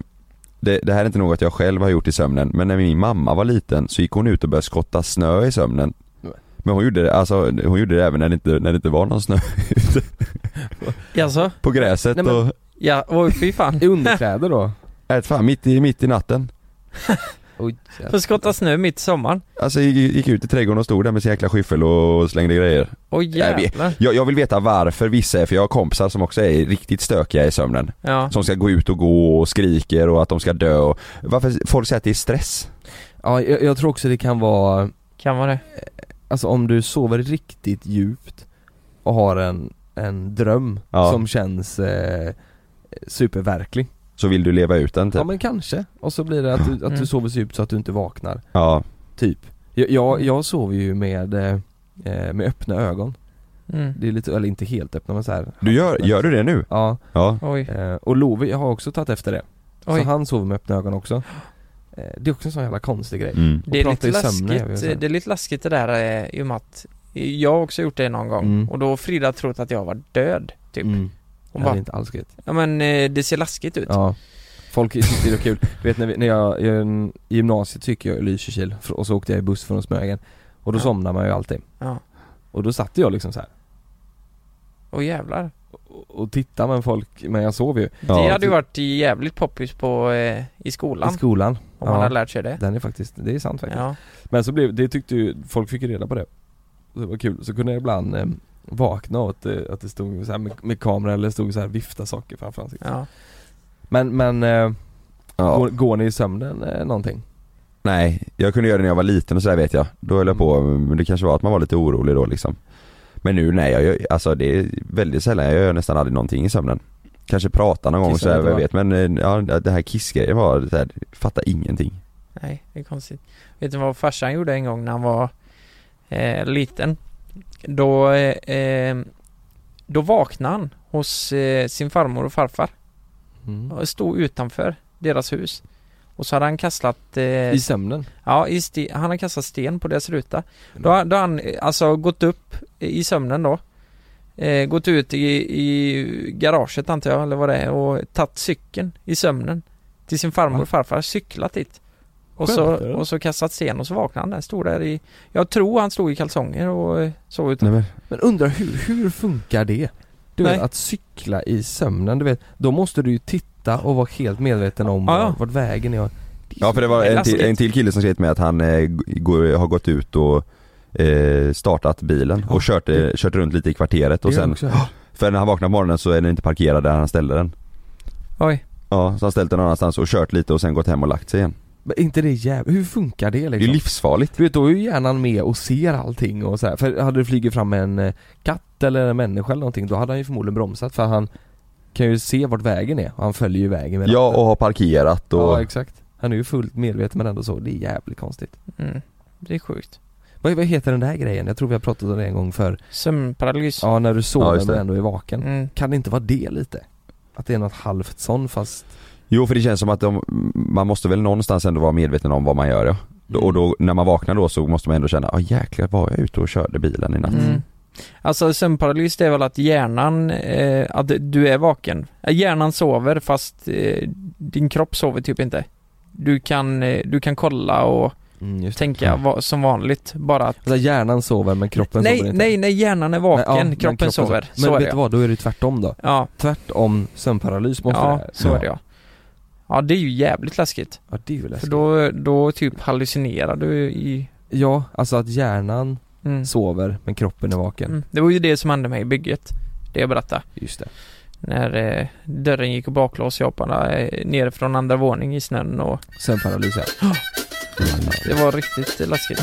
Speaker 5: det, det här är inte något jag själv har gjort i sömnen, men när min mamma var liten så gick hon ut och började skotta snö i sömnen.
Speaker 1: Nej.
Speaker 5: Men hon gjorde det, alltså, hon gjorde det även när det inte, när det inte var någon snö ute
Speaker 4: Jaså?
Speaker 5: på gräset
Speaker 1: Nej, men-
Speaker 5: och,
Speaker 4: Ja, oj fy fan.
Speaker 1: I underkläder då.
Speaker 5: äh, fan, mitt i, mitt i natten.
Speaker 1: Oj,
Speaker 4: Får skotta snö mitt i sommaren.
Speaker 5: Alltså gick, gick ut i trädgården och stod där med sin jäkla skyffel och slängde grejer.
Speaker 4: Oj
Speaker 5: Jag vet.
Speaker 4: jävlar.
Speaker 5: Jag, jag vill veta varför vissa är, för jag har kompisar som också är riktigt stökiga i sömnen.
Speaker 4: Ja.
Speaker 5: Som ska gå ut och gå och skriker och att de ska dö och varför, folk säger att det är stress.
Speaker 1: ja, jag, jag tror också det kan vara,
Speaker 4: Kan vara det.
Speaker 1: alltså om du sover riktigt djupt och har en, en dröm
Speaker 5: Ja.
Speaker 1: som känns eh, superverklig.
Speaker 5: Så vill du leva ut den typ.
Speaker 1: Ja men kanske. Och så blir det att du, att
Speaker 4: Mm.
Speaker 1: du sover så djupt så att du inte vaknar.
Speaker 5: Ja,
Speaker 1: Typ. Jag, jag, jag sover ju med, eh, eh, med öppna ögon.
Speaker 4: Mm.
Speaker 1: Det är lite, eller inte helt öppna men så här.
Speaker 5: du gör, gör du det nu?
Speaker 1: Ja,
Speaker 5: Ja.
Speaker 4: Oj.
Speaker 1: eh, och Love jag har också tagit efter det.
Speaker 4: Oj.
Speaker 1: Så han sover med öppna ögon också. Eh, Det är också en sån jävla konstig grej.
Speaker 5: Mm.
Speaker 4: Det är,
Speaker 1: prata
Speaker 4: lite
Speaker 1: i sömnen, jag vill
Speaker 4: läskigt,
Speaker 1: säga.
Speaker 4: det är lite läskigt det där eh, i och med att jag har också gjort det någon gång
Speaker 1: Mm.
Speaker 4: och då har Frida trott att jag var död typ.
Speaker 1: Mm.
Speaker 4: Hon
Speaker 1: Nej, det är
Speaker 4: bara,
Speaker 1: inte alls gött.
Speaker 4: ja men eh, det ser läskigt ut.
Speaker 1: Ja. Folk tyckte det var kul. Du vet när, vi, när jag, jag, i gymnasiet gick jag i Lysekil fr- och så åkte jag i buss från Smögen. Och då
Speaker 4: Ja.
Speaker 1: somnar man ju alltid.
Speaker 4: Ja.
Speaker 1: Och då satt jag liksom så här
Speaker 4: Åh jävlar.
Speaker 1: och, och tittade men folk, men jag sov ju.
Speaker 5: Ja.
Speaker 4: det hade ju varit jävligt poppis på, eh, i skolan
Speaker 1: I skolan.
Speaker 4: om
Speaker 1: ja.
Speaker 4: man hade lärt sig det.
Speaker 1: Den är faktiskt, det är sant faktiskt.
Speaker 4: Ja.
Speaker 1: Men så blev, det tyckte ju, folk fick ju reda på det Det var kul, så kunde jag ibland eh, vakna åt eh, att det stod så här med, med kameran eller stod så här vifta saker framför ansiktet
Speaker 4: Ja.
Speaker 1: Men, men eh,
Speaker 5: Ja.
Speaker 1: går, går ni i sömnen eh, någonting?
Speaker 5: Nej, jag kunde göra det när jag var liten och sådär vet jag. Då höll jag på, men det kanske var att man var lite orolig då liksom. Men nu nej, jag gör, alltså det är väldigt sällan, jag gör nästan aldrig någonting i sömnen. Kanske prata någon gång
Speaker 1: Kissa
Speaker 5: sådär,
Speaker 1: lite,
Speaker 5: jag
Speaker 1: va?
Speaker 5: vet men eh, ja, det här kissgrejen var så här, fatta ingenting.
Speaker 4: Nej, det är konstigt. Vet du vad farsan gjorde en gång när han var eh, liten? Då, eh, eh, då vaknade han hos eh, sin farmor och farfar.
Speaker 1: Mm.
Speaker 4: och Stod utanför deras hus. Och så hade han kastat... Eh,
Speaker 1: I sömnen?
Speaker 4: Ja, i ste- han har kastat sten på deras ruta. Då, har- då har han eh, alltså gått upp i sömnen då. Eh, gått ut i, i garaget antar jag, eller vad det är, och tagit cykeln i sömnen. Till sin farmor och farfar, cyklat dit. Och så,
Speaker 1: Skämtar du?
Speaker 4: och så kastat sten och så vaknade han där, stod där i... Jag tror han stod i kalsonger och eh, sov utan.
Speaker 5: Nej, men,
Speaker 1: Men undrar hur, hur funkar det? Du vet
Speaker 4: Nej.
Speaker 1: att cykla i sömnen, du vet, då måste du ju titta och vara helt medveten om
Speaker 4: Ja, ja.
Speaker 1: vart vägen är
Speaker 5: ja för det var
Speaker 4: Det är
Speaker 5: en till,
Speaker 4: läskigt.
Speaker 5: en till kille som skrev till mig att han eh, g- går, har gått ut och eh, startat bilen och
Speaker 1: Ja,
Speaker 5: kört, eh,
Speaker 1: det-
Speaker 5: kört runt lite i kvarteret och
Speaker 1: Det är
Speaker 5: sen,
Speaker 1: också-
Speaker 5: för när han vaknar på morgonen så är den inte parkerad där han ställde den.
Speaker 4: Oj.
Speaker 5: Ja, så han ställt den någon annanstans och kört lite och sen gått hem och lagt sig igen.
Speaker 1: Men inte det jävligt, hur funkar det
Speaker 5: Det är
Speaker 1: liksom?
Speaker 5: livsfarligt.
Speaker 1: Du vet, då är ju hjärnan med och ser allting och så här. För hade det flugit fram en eh, katt eller en människa eller någonting då hade han ju förmodligen bromsat för han kan ju se vart vägen är och han följer ju vägen med
Speaker 5: Ja
Speaker 1: ratten.
Speaker 5: och har parkerat och
Speaker 1: ja exakt. Han är ju fullt medveten men ändå så, det är jävligt konstigt.
Speaker 4: Mm. Det är sjukt.
Speaker 1: Vad, vad heter den där grejen? Jag tror vi har pratat om det en gång för
Speaker 4: Sömnparalys.
Speaker 1: Ja, när du
Speaker 5: Ja,
Speaker 1: sover
Speaker 5: just det.
Speaker 1: men ändå är vaken.
Speaker 4: Mm.
Speaker 1: Kan det inte vara det lite? Att det är något halvt sån fast...
Speaker 5: Jo för det känns som att de, man måste väl någonstans ändå vara medveten om vad man gör ja. Då- Och då när man vaknar då så måste man ändå känna, ja jäklar var jag ute och körde bilen i natt?
Speaker 4: Mm. Alltså sömnparalys det är väl att hjärnan, eh, att du är vaken. Eh, Hjärnan sover fast eh, din kropp sover typ inte. Du kan, eh, du kan kolla och
Speaker 1: Mm, just det.
Speaker 4: tänka va, som vanligt bara att
Speaker 1: Alltså hjärnan sover men kroppen
Speaker 4: nej,
Speaker 1: sover inte.
Speaker 4: nej, nej, hjärnan är
Speaker 1: Nej,
Speaker 4: vaken,
Speaker 1: ja, men
Speaker 4: kroppen, sover.
Speaker 1: Men
Speaker 4: så är
Speaker 1: vet du
Speaker 4: det.
Speaker 1: vad, då är det ju tvärtom då.
Speaker 4: Ja,
Speaker 1: Tvärtom sömnparalys måste
Speaker 4: ja
Speaker 1: det
Speaker 4: så är det ja. Ja det är ju jävligt läskigt.
Speaker 1: Ja det är ju läskigt.
Speaker 4: För då, då typ hallucinerar du i
Speaker 1: Ja, alltså att hjärnan
Speaker 4: mm.
Speaker 1: sover men kroppen är vaken.
Speaker 4: Mm. Det var ju det som hände mig i bygget. Det jag berättade.
Speaker 1: Just det.
Speaker 4: När eh, dörren gick och baklås, jag hoppade eh, ner från andra våning i snön och
Speaker 1: Sömnparalys ja.
Speaker 4: Det var riktigt läskigt.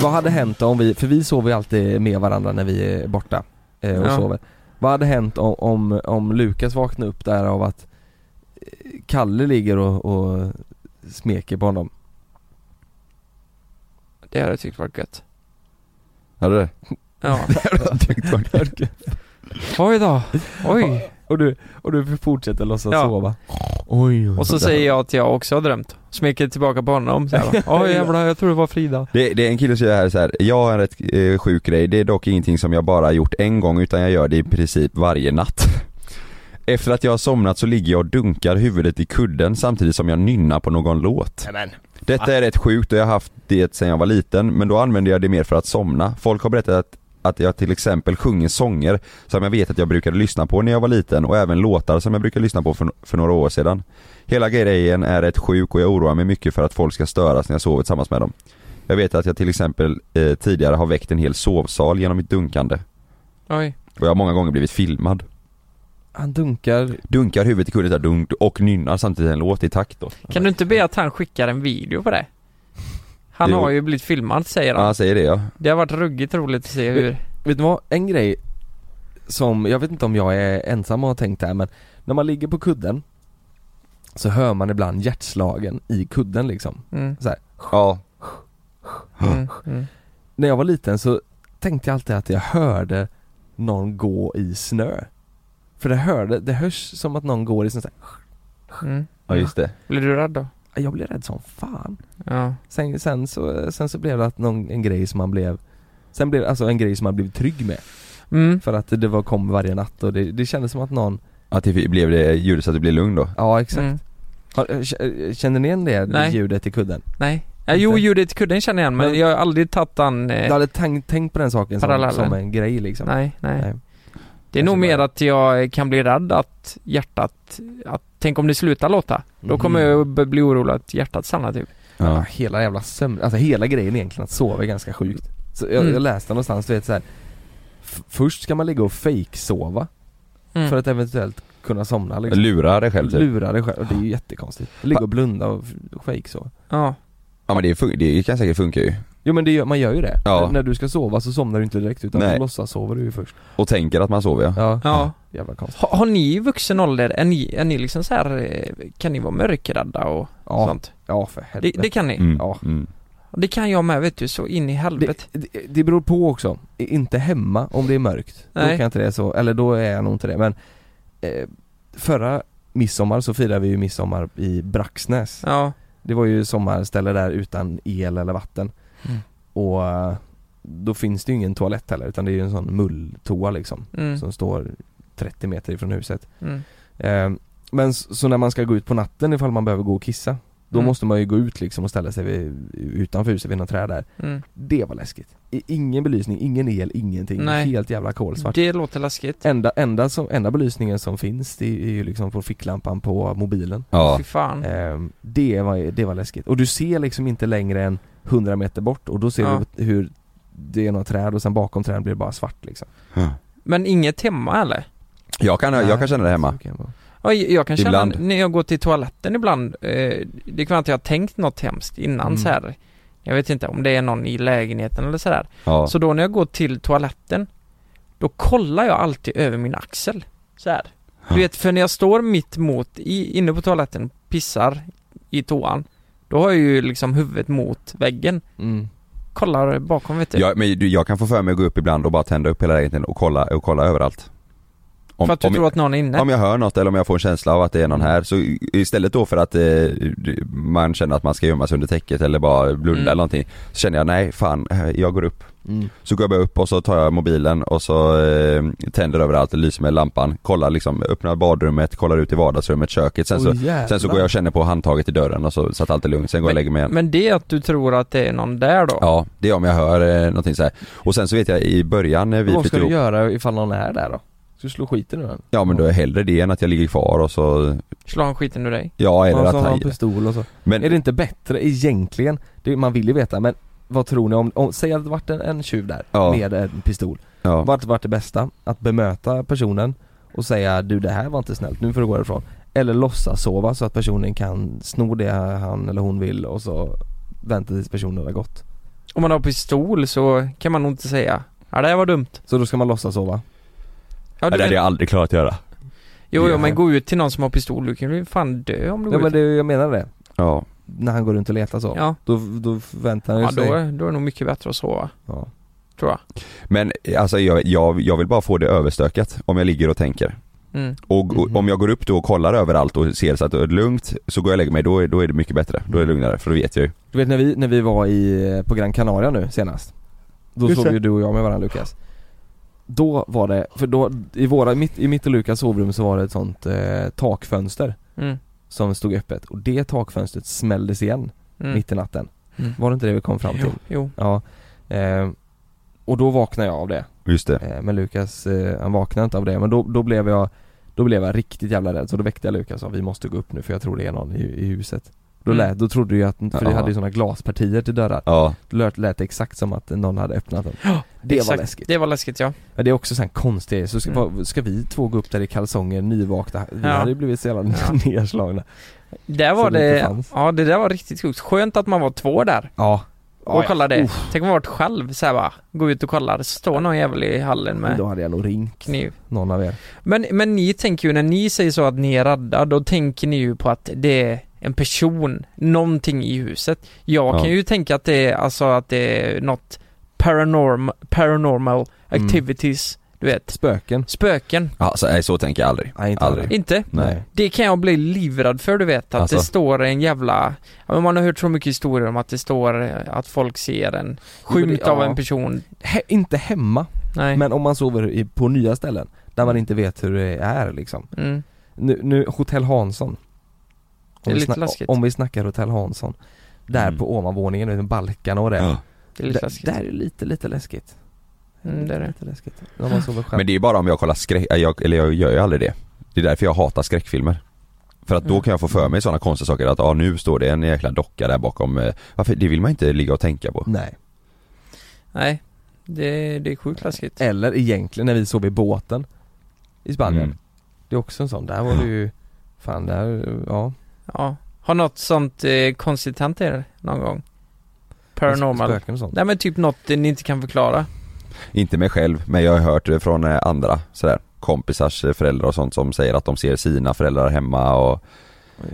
Speaker 1: Vad hade hänt om vi, för vi sover ju alltid med varandra när vi är borta eh, och
Speaker 4: Ja.
Speaker 1: sover Vad hade hänt om, om, om Lukas vaknade upp där av att eh, Kalle ligger och, och smeker på honom?
Speaker 4: Det hade jag tyckt var gött.
Speaker 5: Hade det?
Speaker 4: Ja.
Speaker 5: Tyckt var kul.
Speaker 4: Oj då. Oj.
Speaker 1: Och du, och du fortsätter låtsas
Speaker 4: Ja.
Speaker 1: sova? Oj, oj,
Speaker 4: Och så säger jag att jag också har drömt. Smeker tillbaka på honom så här. Oj jävlar, jag tror det var Frida.
Speaker 5: det, det är en kille som säger här, så här jag har en rätt eh, sjuk grej, det är dock ingenting som jag bara gjort en gång utan jag gör det i princip varje natt. Efter att jag har somnat så ligger jag och dunkar huvudet i kudden samtidigt som jag nynnar på någon låt.
Speaker 1: Nämen.
Speaker 5: Detta är rätt sjukt och jag har haft det sedan jag var liten men då använder jag det mer för att somna. Folk har berättat att, att jag till exempel sjunger sånger som jag vet att jag brukade lyssna på när jag var liten och även låtar som jag brukade lyssna på för, för några år sedan. Hela grejen är rätt sjuk och jag oroar mig mycket för att folk ska störas när jag sover tillsammans med dem. Jag vet att jag till exempel eh, tidigare har väckt en hel sovsal genom mitt dunkande
Speaker 4: Oj.
Speaker 5: och jag har många gånger blivit filmad.
Speaker 1: Han dunkar
Speaker 5: Dunkar huvudet i kudden där dunk och nynnar samtidigt en låt i takt då.
Speaker 4: Kan du inte be att han skickar en video på det? Han
Speaker 5: Jo.
Speaker 4: har ju blivit filmad säger
Speaker 5: Ja,
Speaker 4: han.
Speaker 5: han säger det ja.
Speaker 4: Det har varit ruggigt roligt att se hur...
Speaker 1: Vet ni vad? En grej som, jag vet inte om jag är ensam och har tänkt det här men När man ligger på kudden Så hör man ibland hjärtslagen i kudden liksom
Speaker 4: Mm,
Speaker 5: Ja,
Speaker 4: mm, mm.
Speaker 1: När jag var liten så tänkte jag alltid att jag hörde någon gå i snö För det hörde, det hörs som att någon går i snö så här.
Speaker 4: Mm.
Speaker 5: ja just det.
Speaker 4: Blir du rädd då?
Speaker 1: Jag blev rädd som fan
Speaker 4: Ja.
Speaker 1: Sen, sen, så, sen så blev det att någon, en grej som man blev Sen blev det alltså en grej som man blev trygg med
Speaker 4: Mm.
Speaker 1: För att det var, kom varje natt och det, det kändes som att någon
Speaker 5: Att det blev det ljudet så att det blev lugn då.
Speaker 1: Ja exakt
Speaker 4: Mm.
Speaker 1: Har, eh, k- eh, känner ni igen det
Speaker 4: Nej.
Speaker 1: ljudet i kudden?
Speaker 4: Nej. Ja, jo,
Speaker 1: Inte.
Speaker 4: ljudet i kudden känner jag igen men
Speaker 1: Men-
Speaker 4: jag har aldrig tagit den...
Speaker 1: Du
Speaker 4: Eh,
Speaker 1: hade tänkt, tänkt på den saken som,
Speaker 4: Parallellen.
Speaker 1: som en grej liksom?
Speaker 4: nej, nej.
Speaker 1: Nej.
Speaker 4: Det är nog
Speaker 1: Kanske
Speaker 4: mer
Speaker 1: bara-
Speaker 4: att jag kan bli rädd att hjärtat, att tänk om det slutar låta. Då kommer
Speaker 1: Mhm.
Speaker 4: jag att bli orolig att hjärtat stannar typ.
Speaker 1: Ja. Hela jävla sömn, alltså hela grejen egentligen att sova är ganska sjukt så jag,
Speaker 4: Mm.
Speaker 1: jag läste någonstans, du vet så här. f- Först ska man ligga och fake sova
Speaker 4: Mm.
Speaker 1: för att eventuellt kunna somna liksom.
Speaker 5: Lura dig själv typ.
Speaker 1: Lura dig själv, och det är ju jättekonstigt. Ligga och blunda och f- fake sova
Speaker 4: Ja.
Speaker 5: Ja men det, fun- det kan säkert funka ju.
Speaker 1: Jo men det gör, man gör ju det.
Speaker 5: Ja.
Speaker 1: N- När du ska sova så somnar du inte direkt utan
Speaker 5: Nej.
Speaker 1: du låtsas sover du ju först.
Speaker 5: Och tänker att man sover ja.
Speaker 1: Ja.
Speaker 4: ja.
Speaker 1: Jävla konstigt.
Speaker 4: Har, har ni i vuxen ålder, är ni, är ni liksom så här, eh, kan ni vara mörkrädda och
Speaker 1: Ja,
Speaker 4: sånt?
Speaker 1: ja för
Speaker 4: Det,
Speaker 1: helvete.
Speaker 4: det kan ni.
Speaker 5: Mm.
Speaker 1: Ja.
Speaker 5: Mm.
Speaker 4: Det kan jag med vet du, så in i helvete.
Speaker 1: Det, det, det beror på också, I- inte hemma om det är mörkt. Då
Speaker 4: Nej.
Speaker 1: kan jag inte det så, eller då är jag nog inte det men eh, Förra midsommar så firade vi ju midsommar i Braxnäs.
Speaker 4: Ja.
Speaker 1: Det var ju sommarställe där utan el eller vatten.
Speaker 4: Mm.
Speaker 1: Och eh, då finns det ju ingen toalett heller utan det är ju en sån mulltoa liksom
Speaker 4: Mm.
Speaker 1: som står 30 meter ifrån huset.
Speaker 4: Mm.
Speaker 1: Eh, men s- så när man ska gå ut på natten ifall man behöver gå och kissa då
Speaker 4: Mm.
Speaker 1: måste man ju gå ut liksom och ställa sig vid, utanför huset vid något träd där.
Speaker 4: Mm.
Speaker 1: Det var läskigt. I- Ingen belysning, ingen el, ingenting.
Speaker 4: Nej.
Speaker 1: Helt jävla kolsvart.
Speaker 4: Det låter läskigt.
Speaker 1: Enda, enda, som, enda belysningen som finns det är ju liksom på ficklampan på mobilen.
Speaker 5: Ja.
Speaker 4: Fy fan.
Speaker 1: Ehm, det, var, det var läskigt. Och du ser liksom inte längre än 100 meter bort och då ser
Speaker 4: Ja.
Speaker 1: du hur det är några träd och sen bakom träden blir det bara svart liksom.
Speaker 4: Men inget hemma eller?
Speaker 5: Jag kan, jag kan känna det hemma.
Speaker 1: Så kan det vara.
Speaker 4: Oj, jag kan känna
Speaker 5: Ibland.
Speaker 4: när jag går till toaletten ibland, eh, det kan vara att jag har tänkt något hemskt innan
Speaker 1: Mm.
Speaker 4: så här. Jag vet inte om det är någon i lägenheten eller sådär.
Speaker 5: Ja.
Speaker 4: Så då när jag går till toaletten, då kollar jag alltid över min axel. Så här. Du vet, för när jag står mitt mot, i, inne på toaletten, pissar i toan, då har jag ju liksom huvudet mot väggen.
Speaker 1: Mm.
Speaker 4: Kollar bakom vet du.
Speaker 5: Jag, men du, jag kan få för mig att gå upp ibland och bara tända upp hela lägenheten och kolla, och kolla överallt. Om,
Speaker 4: för att du
Speaker 5: om,
Speaker 4: tror att någon är inne.
Speaker 5: om jag hör något eller om jag får en känsla av att det är
Speaker 1: Mm.
Speaker 5: någon här så i- istället då för att eh, du- man känner att man ska gömma sig under täcket eller bara blunda
Speaker 4: Mm.
Speaker 5: eller någonting så känner jag nej fan eh, jag går upp.
Speaker 1: Mm.
Speaker 5: Så går jag bara upp och så tar jag mobilen och så eh, tänder överallt, lyser med lampan, kollar liksom, öppnar badrummet, kollar ut i vardagsrummet, köket, sen så
Speaker 1: Åh, jävlar.
Speaker 5: Sen så går jag och känner på handtaget i dörren och så, så att allt är lugnt, sen går jag och lägger mig igen.
Speaker 4: Men det är att du tror att det är någon där då?
Speaker 5: Ja, det är om jag hör eh, någonting så här. Och sen så vet jag i början när vi
Speaker 1: Vad ska
Speaker 5: flyttade
Speaker 1: du
Speaker 5: ihop,
Speaker 1: göra ifall någon är där då? Ska du slå skiten ur den?
Speaker 5: ja men då är hellre det än att jag ligger kvar och så,
Speaker 4: Slår han skiten ur dig?
Speaker 5: ja eller
Speaker 1: och
Speaker 5: att
Speaker 1: så Alltså, har han
Speaker 5: han,
Speaker 1: pistol och så. Är
Speaker 5: men
Speaker 1: det inte bättre egentligen? Det, man vill ju veta men vad tror ni om, om säg att det varit en, en tjuv där
Speaker 5: Ja.
Speaker 1: med en pistol.
Speaker 5: ja,
Speaker 1: Vart varit det bästa? Att bemöta personen och säga du det här var inte snällt, nu får du gå därifrån. Eller låtsas sova så att personen kan sno det han eller hon vill och så vänta tills personen har gått.
Speaker 4: om man har pistol så kan man nog inte säga Ja det här var dumt.
Speaker 1: Så då ska man låtsas sova?
Speaker 5: Nej,
Speaker 4: Ja, du
Speaker 5: det hade
Speaker 4: vet,
Speaker 5: jag aldrig klarat att göra.
Speaker 4: jo, jo
Speaker 1: Ja.
Speaker 4: men gå ut till någon som har pistol, du kan ju fan dö om du
Speaker 1: Ja
Speaker 4: går
Speaker 1: men
Speaker 4: ut.
Speaker 1: det, jag menar det,
Speaker 5: Ja.
Speaker 1: när han går runt och letar så.
Speaker 4: Ja,
Speaker 1: Då, då förväntar
Speaker 4: ja
Speaker 1: han
Speaker 4: då,
Speaker 1: sig...
Speaker 4: är- då är det nog mycket bättre att sova,
Speaker 1: Ja.
Speaker 4: tror jag.
Speaker 5: Men alltså jag, jag, jag vill bara få det överstökat om jag ligger och tänker.
Speaker 4: Mm.
Speaker 5: Och, och
Speaker 1: Mhm.
Speaker 5: om jag går upp då och kollar överallt och ser så att det är lugnt, så går jag och lägger mig, då är, då är det mycket bättre. Då är det lugnare, för då vet jag ju.
Speaker 1: Du vet när vi, när vi var i, eh, på Gran Canaria nu senast Då
Speaker 4: Just
Speaker 1: sov
Speaker 4: det.
Speaker 1: ju du och jag med varandra Lukas Då var det, för då, i våra, mitt, i mitt och Lukas sovrum så var det ett sånt eh, takfönster
Speaker 4: Mm.
Speaker 1: Som stod öppet och det takfönstret smälldes igen
Speaker 4: Mm.
Speaker 1: mitt i natten
Speaker 4: Mm.
Speaker 1: Var det inte det vi kom fram till?
Speaker 4: Jo, jo.
Speaker 1: Ja eh, Och då vaknade jag av det
Speaker 5: Just det.
Speaker 1: eh, Men Lukas, eh, han vaknade inte av det men då, då blev jag Då blev jag riktigt jävla rädd så då väckte jag Lukas och sa vi måste gå upp nu för jag tror det är någon i, i huset Då,
Speaker 4: Mm.
Speaker 1: lät, då trodde jag att, för det
Speaker 5: Ja.
Speaker 1: hade ju sådana glaspartier till dörrar
Speaker 5: Ja.
Speaker 1: lät, lät exakt som att någon hade öppnat den. Det var
Speaker 4: Exakt.
Speaker 1: läskigt.
Speaker 4: Det var läskigt ja.
Speaker 1: Men det är också sån konstigt så ska,
Speaker 4: Mm.
Speaker 1: va- ska vi två gå upp där i kalsonger nyvakna? Vi
Speaker 4: Ja.
Speaker 1: hade ju blivit så jävla
Speaker 4: Ja.
Speaker 1: nerslagna.
Speaker 4: Där
Speaker 1: Så
Speaker 4: var
Speaker 1: det
Speaker 4: det,
Speaker 1: inte fanns.
Speaker 4: ja det där var riktigt sjukt. Skönt att man var två där
Speaker 1: Ja.
Speaker 4: och kollade. Tänk om man varit själv så här bara, gå ut och kollar, står någon jävel i hallen med
Speaker 1: Då hade jag nog ringt
Speaker 4: kniv.
Speaker 1: någon av er.
Speaker 4: Men, men ni tänker ju, när ni säger så att ni är rädda, då tänker ni ju på att det är en person, någonting i huset. Jag
Speaker 5: Ja.
Speaker 4: kan ju tänka att det är, alltså att det är något paranorm, paranormal
Speaker 1: Mm.
Speaker 4: activities, du vet.
Speaker 1: Spöken?
Speaker 4: Spöken.
Speaker 5: Alltså, nej, så tänker jag aldrig.
Speaker 1: Nej inte
Speaker 5: Aldrig.
Speaker 1: aldrig.
Speaker 4: Inte?
Speaker 5: Nej.
Speaker 4: Det kan jag bli livrädd för du vet, att
Speaker 5: Alltså.
Speaker 4: det står en jävla, ja, men man har hört så mycket historier om att det står eh, att folk ser en
Speaker 1: men det-
Speaker 4: skymt av
Speaker 1: ja.
Speaker 4: en person.
Speaker 1: He- inte hemma,
Speaker 4: Nej.
Speaker 1: men om man sover i, på nya ställen där man inte vet hur det är liksom.
Speaker 4: Mm.
Speaker 1: Nu, nu Hotell Hansson. Om
Speaker 4: Det är
Speaker 1: vi
Speaker 4: lite
Speaker 1: snack-
Speaker 4: läskigt.
Speaker 1: Om vi snackar Hotell Hansson. Där
Speaker 5: Mm.
Speaker 1: på ovanvåningen, med balkarna och det.
Speaker 5: Ja.
Speaker 4: Det är lite
Speaker 1: Där-
Speaker 4: läskigt.
Speaker 1: Där är det lite, lite läskigt.
Speaker 4: Mm, det är det.
Speaker 1: Lite läskigt. När man sover själv.
Speaker 5: Men det är bara om jag kollar skräck, äh, jag, eller jag gör ju aldrig det. Det är därför jag hatar skräckfilmer. För att då
Speaker 4: Mm.
Speaker 5: kan jag få för mig sådana konstiga saker att ah, nu står det en jäkla docka där bakom. eh, Varför, det vill man inte ligga och tänka på.
Speaker 1: Nej.
Speaker 4: Nej, det, det är sjukt läskigt.
Speaker 1: Eller egentligen när vi sov i båten I Spanien
Speaker 5: Mm.
Speaker 1: Det är också en sån, där var det ju Fan där, ja
Speaker 4: Ja. Har något sånt eh, konstigt hänt er någon gång? Paranormal?
Speaker 1: Spöken och sånt
Speaker 4: Nej men typ något eh, ni inte kan förklara.
Speaker 5: Inte mig själv, men jag har hört det från eh, andra sådär kompisars eh, föräldrar och sånt som säger att de ser sina föräldrar hemma och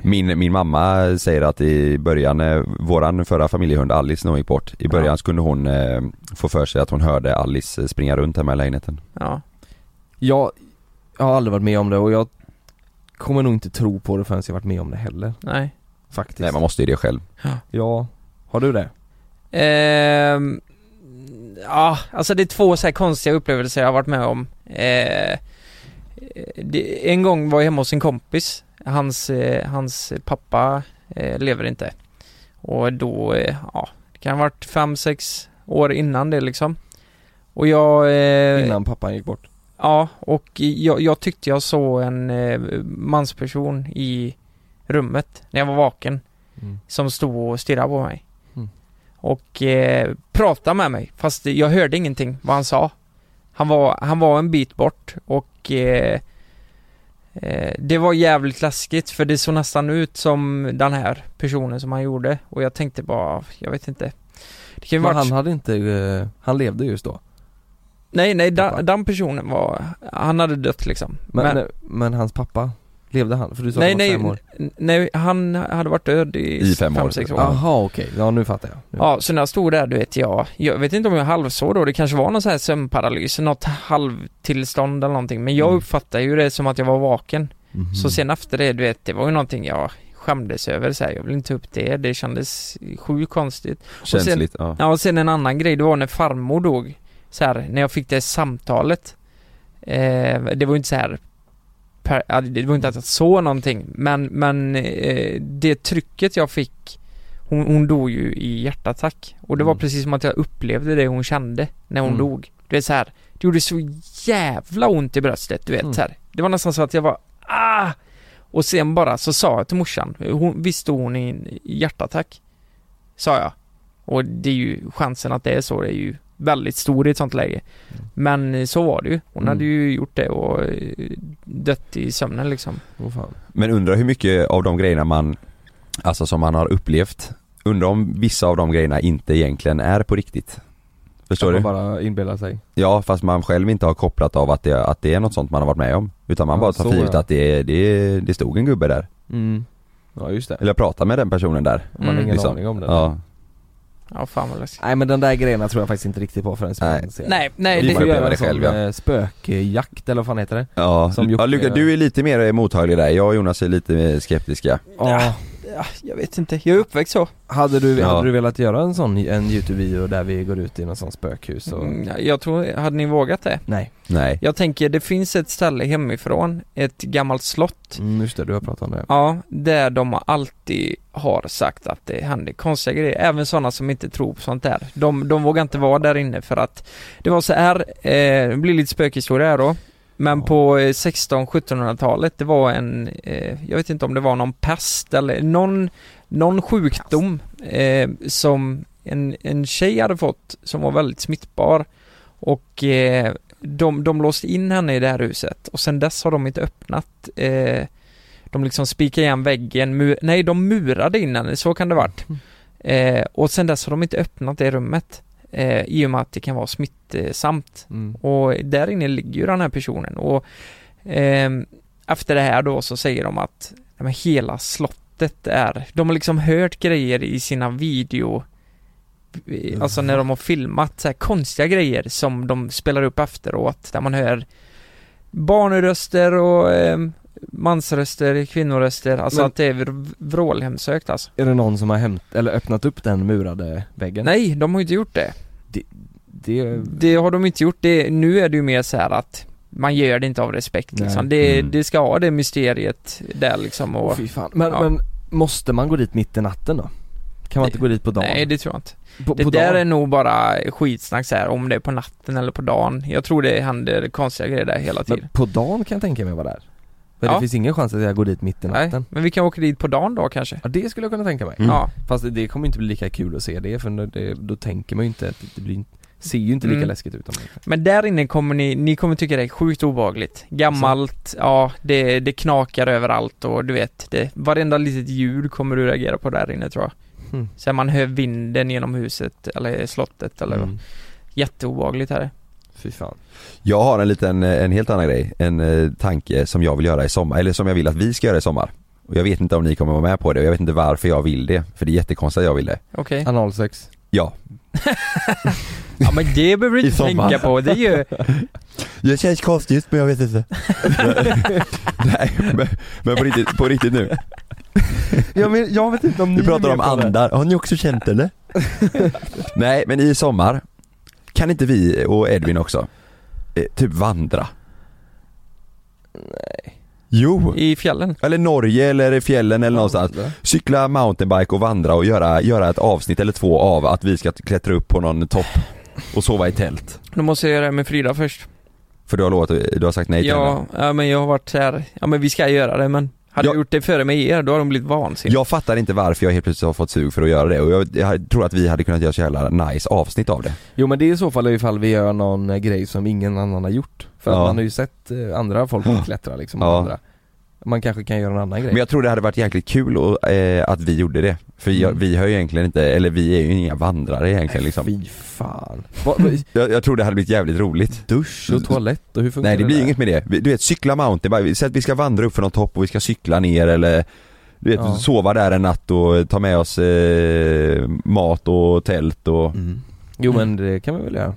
Speaker 5: min, min mamma säger att i början, eh, våran förra familjehund Alice när hon gick bort, i början
Speaker 1: Ja.
Speaker 5: så kunde hon eh, få för sig att hon hörde Alice eh, springa runt hemma i lägenheten.
Speaker 4: Ja.
Speaker 1: jag, jag har aldrig varit med om det och jag Kommer nog inte tro på det förrän jag varit med om det heller
Speaker 4: Nej.
Speaker 1: Faktiskt
Speaker 5: Nej man måste ju det själv.
Speaker 1: Ja Har du det?
Speaker 4: Ehm, ja, alltså det är två så här konstiga upplevelser jag har varit med om. Eh, det, en gång var jag hemma hos en kompis. Hans, eh, hans pappa eh, lever inte. Och då, eh, ja, det kan ha varit fem, sex år innan det liksom. Och jag... eh,
Speaker 1: Innan pappan gick bort?
Speaker 4: Ja, och jag, jag tyckte jag såg en eh, mansperson i rummet när jag var vaken som stod och stirrade på mig.
Speaker 1: Mm.
Speaker 4: Och eh, pratade med mig, fast jag hörde ingenting vad han sa. Han var, han var en bit bort och eh, eh, det var jävligt läskigt för det såg nästan ut som den här personen som han gjorde och jag tänkte bara, jag vet inte. Det kan ju
Speaker 1: Men
Speaker 4: varit...
Speaker 1: han hade inte, eh, han levde just då
Speaker 4: Nej, nej,
Speaker 1: Pappa.
Speaker 4: den, den personen var, han hade dött liksom.
Speaker 1: Men, eh, men, hans pappa, levde han? För du sa
Speaker 4: Nej
Speaker 1: han var
Speaker 4: nej,
Speaker 1: fem år
Speaker 4: n- nej, han hade varit död i,
Speaker 5: I fem år.
Speaker 4: sex år.
Speaker 5: Ja.
Speaker 4: Ja.
Speaker 1: Jaha okej, ja nu fattar jag nu.
Speaker 4: så när jag stod där, du vet jag, jag vet inte om jag halvsov då, det kanske var någon sån här sömnparalys, något halvtillstånd eller någonting, men jag
Speaker 1: Mm.
Speaker 4: uppfattade ju det som att jag var vaken.
Speaker 1: Mhm.
Speaker 5: Mm.
Speaker 4: Så sen efter det, du vet, det var ju någonting jag skämdes över så här, jag vill inte ta upp det, det kändes sjukt konstigt. sen-
Speaker 5: Känsligt. ja.
Speaker 4: Ja, och sen en annan grej, det var när farmor dog. Så här, när jag fick det samtalet. Eh, det var ju inte så här per, ja, det var inte att jag såg någonting, men, men eh, det trycket jag fick hon, hon dog ju i hjärtattack och det var
Speaker 1: Mm.
Speaker 4: precis som att jag upplevde det hon kände när hon
Speaker 1: Mm.
Speaker 4: dog. Det är så här, det gjorde så jävla ont i bröstet, du vet
Speaker 1: Mm.
Speaker 4: så här. Det var nästan så att jag var ah! Och sen bara så sa jag till morsan, hon, visst stod hon i en hjärtattack? Sa jag. Och det är ju, chansen att det är så det är ju väldigt stor i ett sånt läge. Men eh, så var det ju. Hon
Speaker 1: Mm.
Speaker 4: hade ju gjort det och eh, dött i sömnen liksom.
Speaker 1: Åh, fan.
Speaker 5: Men undrar hur mycket av de grejerna man, alltså som man har upplevt undrar om vissa av de grejerna inte egentligen är på riktigt. Förstår
Speaker 1: man
Speaker 5: du?
Speaker 1: bara inbillar sig.
Speaker 5: Ja, fast man själv inte har kopplat av att det, att det är något sånt man har varit med om. Utan man
Speaker 1: Ja,
Speaker 5: bara tar
Speaker 1: så,
Speaker 5: för givet
Speaker 1: ja.
Speaker 5: att det, är- det, är- det stod en gubbe där.
Speaker 1: Mm. Ja just det.
Speaker 5: Eller jag pratade med den personen där.
Speaker 1: Man har
Speaker 4: Mm.
Speaker 1: ingen
Speaker 5: Liksom.
Speaker 1: aning om det.
Speaker 5: Ja.
Speaker 4: Ja fan vad läskigt.
Speaker 1: Nej men den där grejerna tror jag faktiskt inte riktigt på förrän
Speaker 5: Nej.
Speaker 1: man ser.
Speaker 4: Nej, nej
Speaker 5: Vi
Speaker 1: Vi
Speaker 4: det,
Speaker 1: får
Speaker 5: får
Speaker 1: göra
Speaker 5: uppleva
Speaker 1: en
Speaker 5: det
Speaker 1: sån
Speaker 5: själv, ja.
Speaker 1: eh, spökjakt eller vad fan heter det?
Speaker 5: Ja,
Speaker 1: Som
Speaker 5: ja
Speaker 1: Jocke-
Speaker 5: Luca, du är lite mer mottaglig där. Jag och Jonas är lite mer skeptiska.
Speaker 1: Ja.
Speaker 4: ja, jag vet inte. Jag är uppväxt så.
Speaker 1: Hade du,
Speaker 5: Ja.
Speaker 1: hade du velat göra en sån, en youtube-video där vi går ut i någon sån spökhus och...
Speaker 4: Mm, Jag tror, hade ni vågat det?
Speaker 1: Nej.
Speaker 5: Nej.
Speaker 4: Jag tänker, det finns ett ställe hemifrån, ett gammalt slott.
Speaker 1: Mm, just det, du har pratat om det.
Speaker 4: Ja, där de alltid har sagt att det händer konstiga grejer. Även sådana som inte tror på sånt där. De, de vågar inte vara där inne för att det var så här, eh, det blir lite spökhistoria här då. Men
Speaker 1: Ja.
Speaker 4: på 16-1700-talet, det var en, eh, jag vet inte om det var någon pest eller någon, någon sjukdom eh, som en, en tjej hade fått som var väldigt smittbar. Och eh, de, de låste in henne i det här huset och sen dess har de inte öppnat eh, de liksom spikade igen väggen, mu- nej de murade in henne, så kan det varit. Eh, och sen dess har de inte öppnat det rummet. Eh, I och med att det kan vara smittsamt.
Speaker 1: Mm.
Speaker 4: Och där inne ligger ju den här personen och ehm, efter det här då så säger de att nej, men hela slottet är, de har liksom hört grejer i sina video Alltså när de har filmat så här konstiga grejer som de spelar upp efteråt där man hör barnröster och ehm, mansröster, kvinnoröster, alltså
Speaker 1: Men-
Speaker 4: att det är vr- vrålhemsökt alltså.
Speaker 1: Är det någon som har hämt, eller öppnat upp den murade väggen?
Speaker 4: Nej, de har ju inte gjort det.
Speaker 1: Det,
Speaker 4: Det har de inte gjort. Det, nu är det ju mer så här att man gör det inte av respekt
Speaker 1: Nej.
Speaker 4: liksom. det,
Speaker 5: Mm.
Speaker 4: det ska ha det mysteriet där liksom och,
Speaker 1: Åh, fy fan. Men,
Speaker 4: Ja.
Speaker 1: men, måste man gå dit mitt i natten då? Kan man inte gå dit på dagen?
Speaker 4: Nej det tror jag inte.
Speaker 1: på,
Speaker 4: Det
Speaker 1: på
Speaker 4: där
Speaker 1: dagen?
Speaker 4: är nog bara skitsnack så här om det är på natten eller på dagen. Jag tror det händer konstiga grejer där hela tiden.
Speaker 1: Men på dagen kan jag tänka mig vara där. Men det
Speaker 4: Ja.
Speaker 1: finns ingen chans att jag går dit mitt i
Speaker 4: Nej,
Speaker 1: natten.
Speaker 4: men vi kan åka dit på dagen då kanske.
Speaker 1: Ja, det skulle jag kunna tänka mig.
Speaker 5: Mm.
Speaker 4: Ja,
Speaker 1: Fast det- det kommer inte bli lika kul att se det för när det, då tänker man ju inte att det blir, ser ju inte lika
Speaker 4: Mm.
Speaker 1: läskigt ut om man-
Speaker 4: men där inne kommer ni, ni kommer tycka det är sjukt obehagligt.
Speaker 5: Alltså.
Speaker 4: Gammalt, ja det, det knakar överallt och du vet, det, varenda litet ljud kommer du reagera på där inne tror jag.
Speaker 1: Mm.
Speaker 5: Hmm.
Speaker 4: Sen man hör vinden genom huset eller slottet eller
Speaker 1: Mm.
Speaker 4: Jätteobehagligt här.
Speaker 1: Fy fan.
Speaker 5: Jag har en liten, en helt annan grej. En eh, tanke som jag vill göra i sommar, eller som jag vill att vi ska göra i sommar. Och jag vet inte om ni kommer vara med på det och jag vet inte varför jag vill det. För det är jättekonstigt att jag vill det.
Speaker 4: Okej.
Speaker 1: Analsex.
Speaker 5: Ja.
Speaker 4: Ja men det behöver du
Speaker 5: I
Speaker 4: inte
Speaker 5: sommar.
Speaker 4: tänka på. Det är ju,
Speaker 5: Det känns konstigt men jag vet inte. Nej men, men på, riktigt, på riktigt nu.
Speaker 1: Jag, men, jag vet inte om
Speaker 5: Du pratar om andar, har ni också känt eller? Nej men i sommar kan inte vi och Edvin också eh, typ vandra? Nej. Jo!
Speaker 4: i fjällen.
Speaker 5: Eller Norge eller i fjällen eller någonstans. Cykla mountainbike och vandra och göra, göra ett avsnitt eller två av att vi ska klättra upp på någon topp och sova i tält.
Speaker 4: Då måste jag göra det med Frida först.
Speaker 5: För du har, lovat, du har sagt nej till henne.
Speaker 4: Ja, ja, men jag har varit här, ja men vi ska göra det men hade
Speaker 5: Ja.
Speaker 4: jag gjort det före med er då har de blivit vansinniga.
Speaker 5: Jag fattar inte varför jag helt plötsligt har fått sug för att göra det och jag, jag tror att vi hade kunnat göra så jävla nice avsnitt av det.
Speaker 1: Jo men det är i så fall ifall vi gör någon eh, grej som ingen annan har gjort. För
Speaker 5: Ja.
Speaker 1: att man har ju sett eh, andra folk
Speaker 5: Ja.
Speaker 1: klättra liksom.
Speaker 5: Ja.
Speaker 1: och Andra. Man kanske kan göra en annan grej.
Speaker 5: Men jag tror det hade varit jäkligt kul och, eh, att vi gjorde det. För jag,
Speaker 1: Mm.
Speaker 5: vi har ju egentligen inte, eller vi är ju inga vandrare egentligen liksom.
Speaker 1: Fy fan. Va, va,
Speaker 5: Jag, jag tror det hade blivit jävligt roligt.
Speaker 1: dusch och toalett och hur funkar
Speaker 5: Nej det blir
Speaker 1: där?
Speaker 5: inget med det. Vi- Du vet cykla mountainbike, säg att vi ska vandra upp för någon topp och vi ska cykla ner eller du vet,
Speaker 1: Ja.
Speaker 5: sova där en natt och ta med oss eh, mat och tält och...
Speaker 1: Mm. Jo men det kan vi väl göra.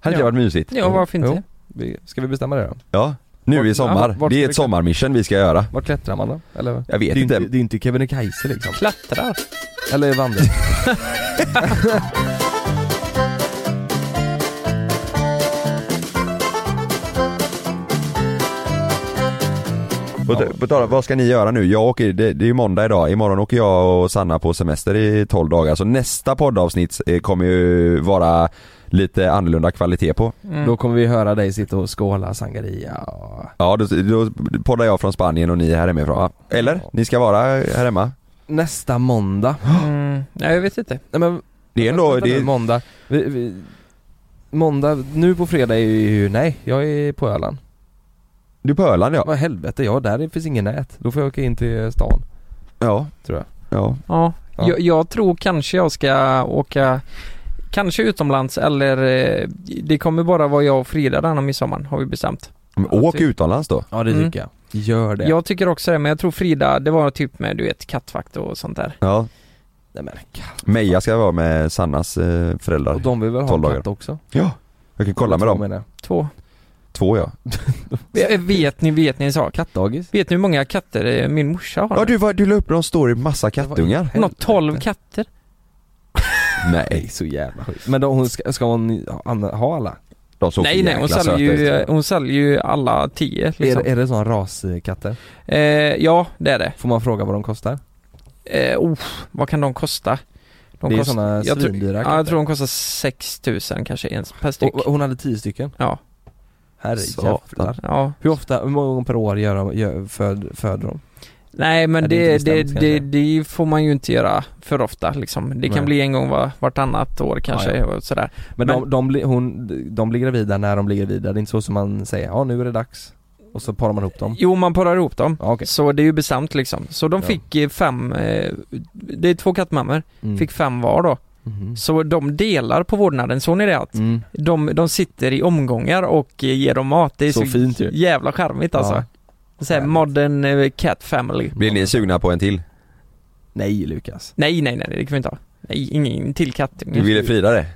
Speaker 5: Hade det
Speaker 4: Ja.
Speaker 5: varit mysigt?
Speaker 4: Ja, varför inte?
Speaker 1: Jo. Vi, ska vi bestämma det då?
Speaker 5: Ja. Nu
Speaker 1: Vart-
Speaker 5: i
Speaker 1: ja,
Speaker 5: sommar.
Speaker 1: vart
Speaker 5: det
Speaker 1: ska
Speaker 5: är
Speaker 1: vi-
Speaker 5: ett sommarmission vi ska göra.
Speaker 1: Var klättrar man då? Eller?
Speaker 5: Jag vet
Speaker 1: det är
Speaker 5: inte.
Speaker 1: inte, det är inte Kebnekaise liksom.
Speaker 4: Klättrar.
Speaker 1: Eller vandring.
Speaker 5: På, t- på tal om, vad ska ni göra nu? Jag åker, det, det är ju måndag idag, imorgon åker jag och Sanna på semester i 12 dagar så nästa poddavsnitt eh, kommer ju vara lite annorlunda kvalitet på.
Speaker 1: Då kommer vi höra dig sitta och skåla sangria och...
Speaker 5: Ja, då, då poddar jag från Spanien och ni är här hemifrån va? Eller? Ni ska vara här hemma?
Speaker 1: Nästa måndag.
Speaker 4: Mm, nej jag vet inte.
Speaker 1: Nej men...
Speaker 5: Det är ändå,
Speaker 1: vänta
Speaker 5: det
Speaker 1: nu,
Speaker 5: är,
Speaker 1: Måndag. Vi, vi, måndag, nu på fredag är ju... Nej, jag är på Öland.
Speaker 5: du är på Öland ja.
Speaker 1: Vad helvete, jag där det finns ingen nät. Då får jag åka in till stan,
Speaker 5: Ja,
Speaker 1: tror jag.
Speaker 5: ja.
Speaker 4: Ja,
Speaker 1: Ja.
Speaker 4: Jag, jag tror kanske jag ska åka Kanske utomlands eller eh, det kommer bara vara jag och Frida denna midsommar har vi bestämt.
Speaker 5: Men
Speaker 4: Ja,
Speaker 5: åk
Speaker 4: typ.
Speaker 5: utomlands då.
Speaker 1: Ja det
Speaker 4: Mm.
Speaker 1: tycker jag. Gör det.
Speaker 4: Jag tycker också det men jag tror Frida, det var typ med du vet kattvakt och sånt där.
Speaker 5: Ja.
Speaker 1: Nej, men,
Speaker 5: Meja ska vara med Sannas eh, föräldrar.
Speaker 1: och de vill väl ha
Speaker 5: 12
Speaker 1: en
Speaker 5: dagar.
Speaker 1: katt också?
Speaker 5: Ja. Jag kan kolla
Speaker 1: Två
Speaker 5: med dem.
Speaker 1: menar jag.
Speaker 4: Två.
Speaker 5: Två ja.
Speaker 4: Eh, Vet ni, vet ni en sak?
Speaker 1: Kattdagis?
Speaker 4: Vet ni hur många katter eh, min morsa har?
Speaker 5: Ja du, var, du la upp någon story med massa kattungar.
Speaker 4: Hon har 12 katter.
Speaker 5: Nej.
Speaker 1: Nej så jävla sjukt. Men då, hon ska, ska hon ha- an- ha alla?
Speaker 5: De såg
Speaker 4: nej nej, hon säljer, ju, eh, hon säljer ju alla tio liksom.
Speaker 1: Är, det- är det sådana raskatter?
Speaker 4: Eh, ja, det är det.
Speaker 1: Får man fråga vad de kostar?
Speaker 4: Eh, oh, vad kan de kosta? De
Speaker 1: det är
Speaker 4: kost-
Speaker 1: sådana
Speaker 4: jag tror-
Speaker 1: svindyra
Speaker 4: Ja, jag tror de kostar 6000 kanske ens per styck.
Speaker 1: och, och hon hade 10 stycken?
Speaker 4: Ja.
Speaker 1: Herrejävlar.
Speaker 4: Ja.
Speaker 1: Hur ofta, hur många gånger per år gör de, gör, föd, föder de?
Speaker 4: Nej men
Speaker 1: Ja, det är
Speaker 4: det,
Speaker 1: inte
Speaker 4: det,
Speaker 1: bestämt,
Speaker 4: det,
Speaker 1: kanske.
Speaker 4: det får man ju inte göra för ofta liksom. Det kan
Speaker 1: Nej.
Speaker 4: bli en gång var, vartannat år kanske
Speaker 1: Ja, ja.
Speaker 4: och sådär.
Speaker 1: Men,
Speaker 4: Men-
Speaker 1: de, de, blir- hon, de blir gravida när de blir gravida, det är inte så som man säger ja nu är det dags och så parar man ihop dem?
Speaker 4: Jo man parar ihop dem.
Speaker 1: Ja, okej.
Speaker 4: Så det är ju bestämt liksom. Så de
Speaker 1: Ja.
Speaker 4: fick eh, fem, eh, det är två kattmammor,
Speaker 1: Mm.
Speaker 4: fick fem var då.
Speaker 1: Mhm.
Speaker 4: Så de delar på vårdnaden, såg ni det? Att
Speaker 1: Mm.
Speaker 4: de, de sitter i omgångar och eh, ger dem mat. Det är
Speaker 1: Så
Speaker 4: så,
Speaker 1: fint ju.
Speaker 4: jävla charmigt alltså. Så här,
Speaker 1: Härligt.
Speaker 4: modern eh, cat family.
Speaker 5: Blir ni sugna på en till?
Speaker 1: Nej Lukas.
Speaker 4: Nej, nej, nej, det kan vi inte ha. Nej, ingen till kattunge.
Speaker 5: Ville Frida det?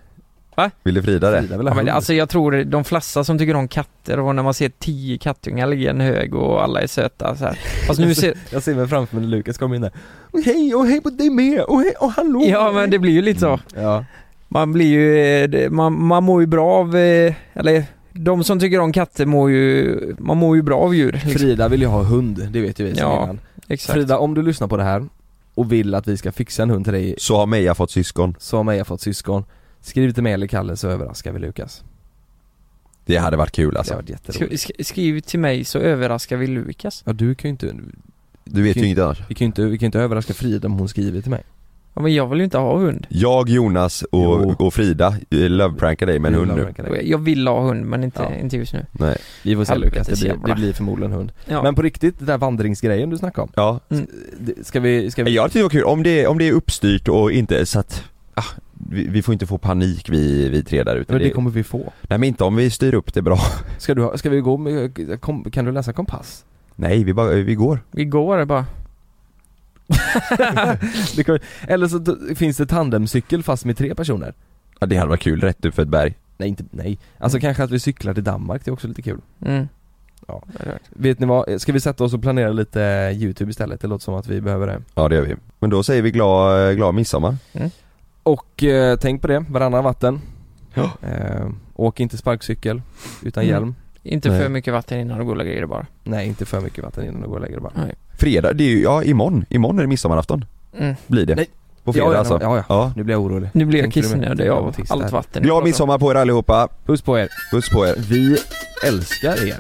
Speaker 4: Va?
Speaker 5: Ville Frida det?
Speaker 1: Frida vill
Speaker 4: Ja,
Speaker 1: ha
Speaker 4: men
Speaker 1: hund.
Speaker 4: alltså jag tror de flesta som tycker om katter och när man ser tio kattungar ligga i en hög och alla är söta så här. Fast nu ser,
Speaker 1: Jag ser mig framför mig när Lukas kommer in där. Och hej och hej på dig med! Och hej och hallå!
Speaker 4: ja men det blir ju lite så.
Speaker 1: Ja.
Speaker 4: Man blir ju, eh, det- man, man mår ju bra av, eh, eller de som tycker om katter mår ju, man mår ju bra av djur. Liksom.
Speaker 1: Frida vill ju ha hund, det vet ju vi sedan
Speaker 4: Ja,
Speaker 1: innan.
Speaker 4: Exakt.
Speaker 1: Frida, om du lyssnar på det här och vill att vi ska fixa en hund till dig
Speaker 5: Så har Meja fått syskon.
Speaker 1: så har Meja fått syskon Skriv till mig eller Kalle så överraskar vi Lukas
Speaker 5: Det hade varit kul
Speaker 1: Det
Speaker 5: alltså.
Speaker 1: har varit jätteroligt
Speaker 4: Sk- sk- skriv till mig så överraskar vi Lukas.
Speaker 1: Ja du kan ju inte,
Speaker 5: Du vet ju inget annars.
Speaker 1: vi kan ju inte, vi kan ju inte överraska Frida om hon skriver till mig
Speaker 4: Ja, men jag vill ju inte ha hund.
Speaker 5: Jag, Jonas
Speaker 1: Jo.
Speaker 5: och, och Frida eh, loveprankar dig med en
Speaker 1: Vi
Speaker 5: hund nu.
Speaker 1: överraskar dig.
Speaker 4: Jag vill ha hund men inte,
Speaker 1: Ja.
Speaker 4: inte just nu.
Speaker 5: Nej.
Speaker 1: Vi får se
Speaker 4: Helvete,
Speaker 1: Lukas, det blir,
Speaker 4: jävlar.
Speaker 1: det blir förmodligen hund
Speaker 4: Ja.
Speaker 1: Men på riktigt, den där vandringsgrejen du snackade om
Speaker 5: Ja.
Speaker 1: det- Ska vi, ska vi
Speaker 5: Jag tycker det var kul, om det, om det är uppstyrt och inte så att ah, vi, vi får inte få panik vi, vi tre där ute.
Speaker 1: men det
Speaker 5: Det-
Speaker 1: kommer vi få
Speaker 5: Nej men inte om vi styr upp det bra.
Speaker 1: Ska du, ha- ska vi gå med, kom, kan du läsa kompass?
Speaker 5: Nej, vi, bara, vi går.
Speaker 4: Vi går bara.
Speaker 1: Det kan, eller så t- finns det tandemcykel fast med tre personer
Speaker 5: Ja, det hade varit kul, rätt upp för ett berg.
Speaker 1: Nej inte, nej Alltså kanske att vi cyklar till Danmark, det är också lite kul
Speaker 4: Mm.
Speaker 1: Ja. Vet ni vad, ska vi sätta oss och planera lite youtube istället? Det låter som att vi behöver det
Speaker 5: Ja det gör vi. Men då säger vi glad, glad midsommar.
Speaker 1: Och eh, tänk på det, varannan vatten
Speaker 5: Ja.
Speaker 1: eh, Åk inte sparkcykel utan
Speaker 4: Mm.
Speaker 1: hjälm
Speaker 4: Inte
Speaker 5: Nej.
Speaker 4: för mycket vatten innan du går och lägger dig bara.
Speaker 1: Nej inte för mycket vatten innan du går och lägger dig
Speaker 5: Mm.
Speaker 1: bara
Speaker 5: Fredag, det är ju, ja imorgon, imorgon är det midsommarafton.
Speaker 4: Mm.
Speaker 5: Blir det.
Speaker 1: Nej.
Speaker 5: På fredag
Speaker 1: ja, ja,
Speaker 5: alltså.
Speaker 1: Ja, ja.
Speaker 5: Ja.
Speaker 1: Nu blir jag orolig
Speaker 4: Nu blir jag
Speaker 1: Tänkte du med?
Speaker 4: kissnödig av
Speaker 1: Autist
Speaker 4: allt
Speaker 1: här.
Speaker 4: vatten.
Speaker 5: Glad midsommar på er allihopa.
Speaker 1: Puss på er!
Speaker 5: Puss på er.
Speaker 1: Vi älskar er!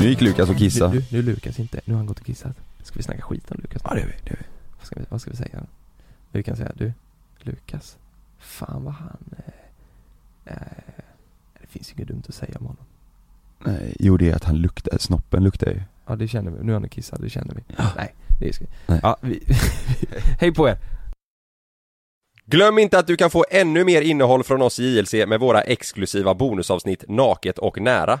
Speaker 5: Nu gick Lukas och kissade.
Speaker 1: Nu, nu, nu Lukas inte, nu har han gått och kissat Ska vi snacka skit om Lukas?
Speaker 5: Ja det gör vi, det gör vi.
Speaker 1: Vad ska vi, vad ska vi säga? Vi kan säga, du Lukas Fan vad han eh, eh, Det finns ju inget dumt att säga om honom
Speaker 5: Nej, jo det är att han luktar, snoppen luktar ju.
Speaker 1: Ja det känner vi, nu har ni kissat, det känner vi. Nej, det är skit.
Speaker 5: Nej.
Speaker 1: Ja, vi, hej på er!
Speaker 8: Glöm inte att du kan få ännu mer innehåll från oss i JLC med våra exklusiva bonusavsnitt Naket och nära.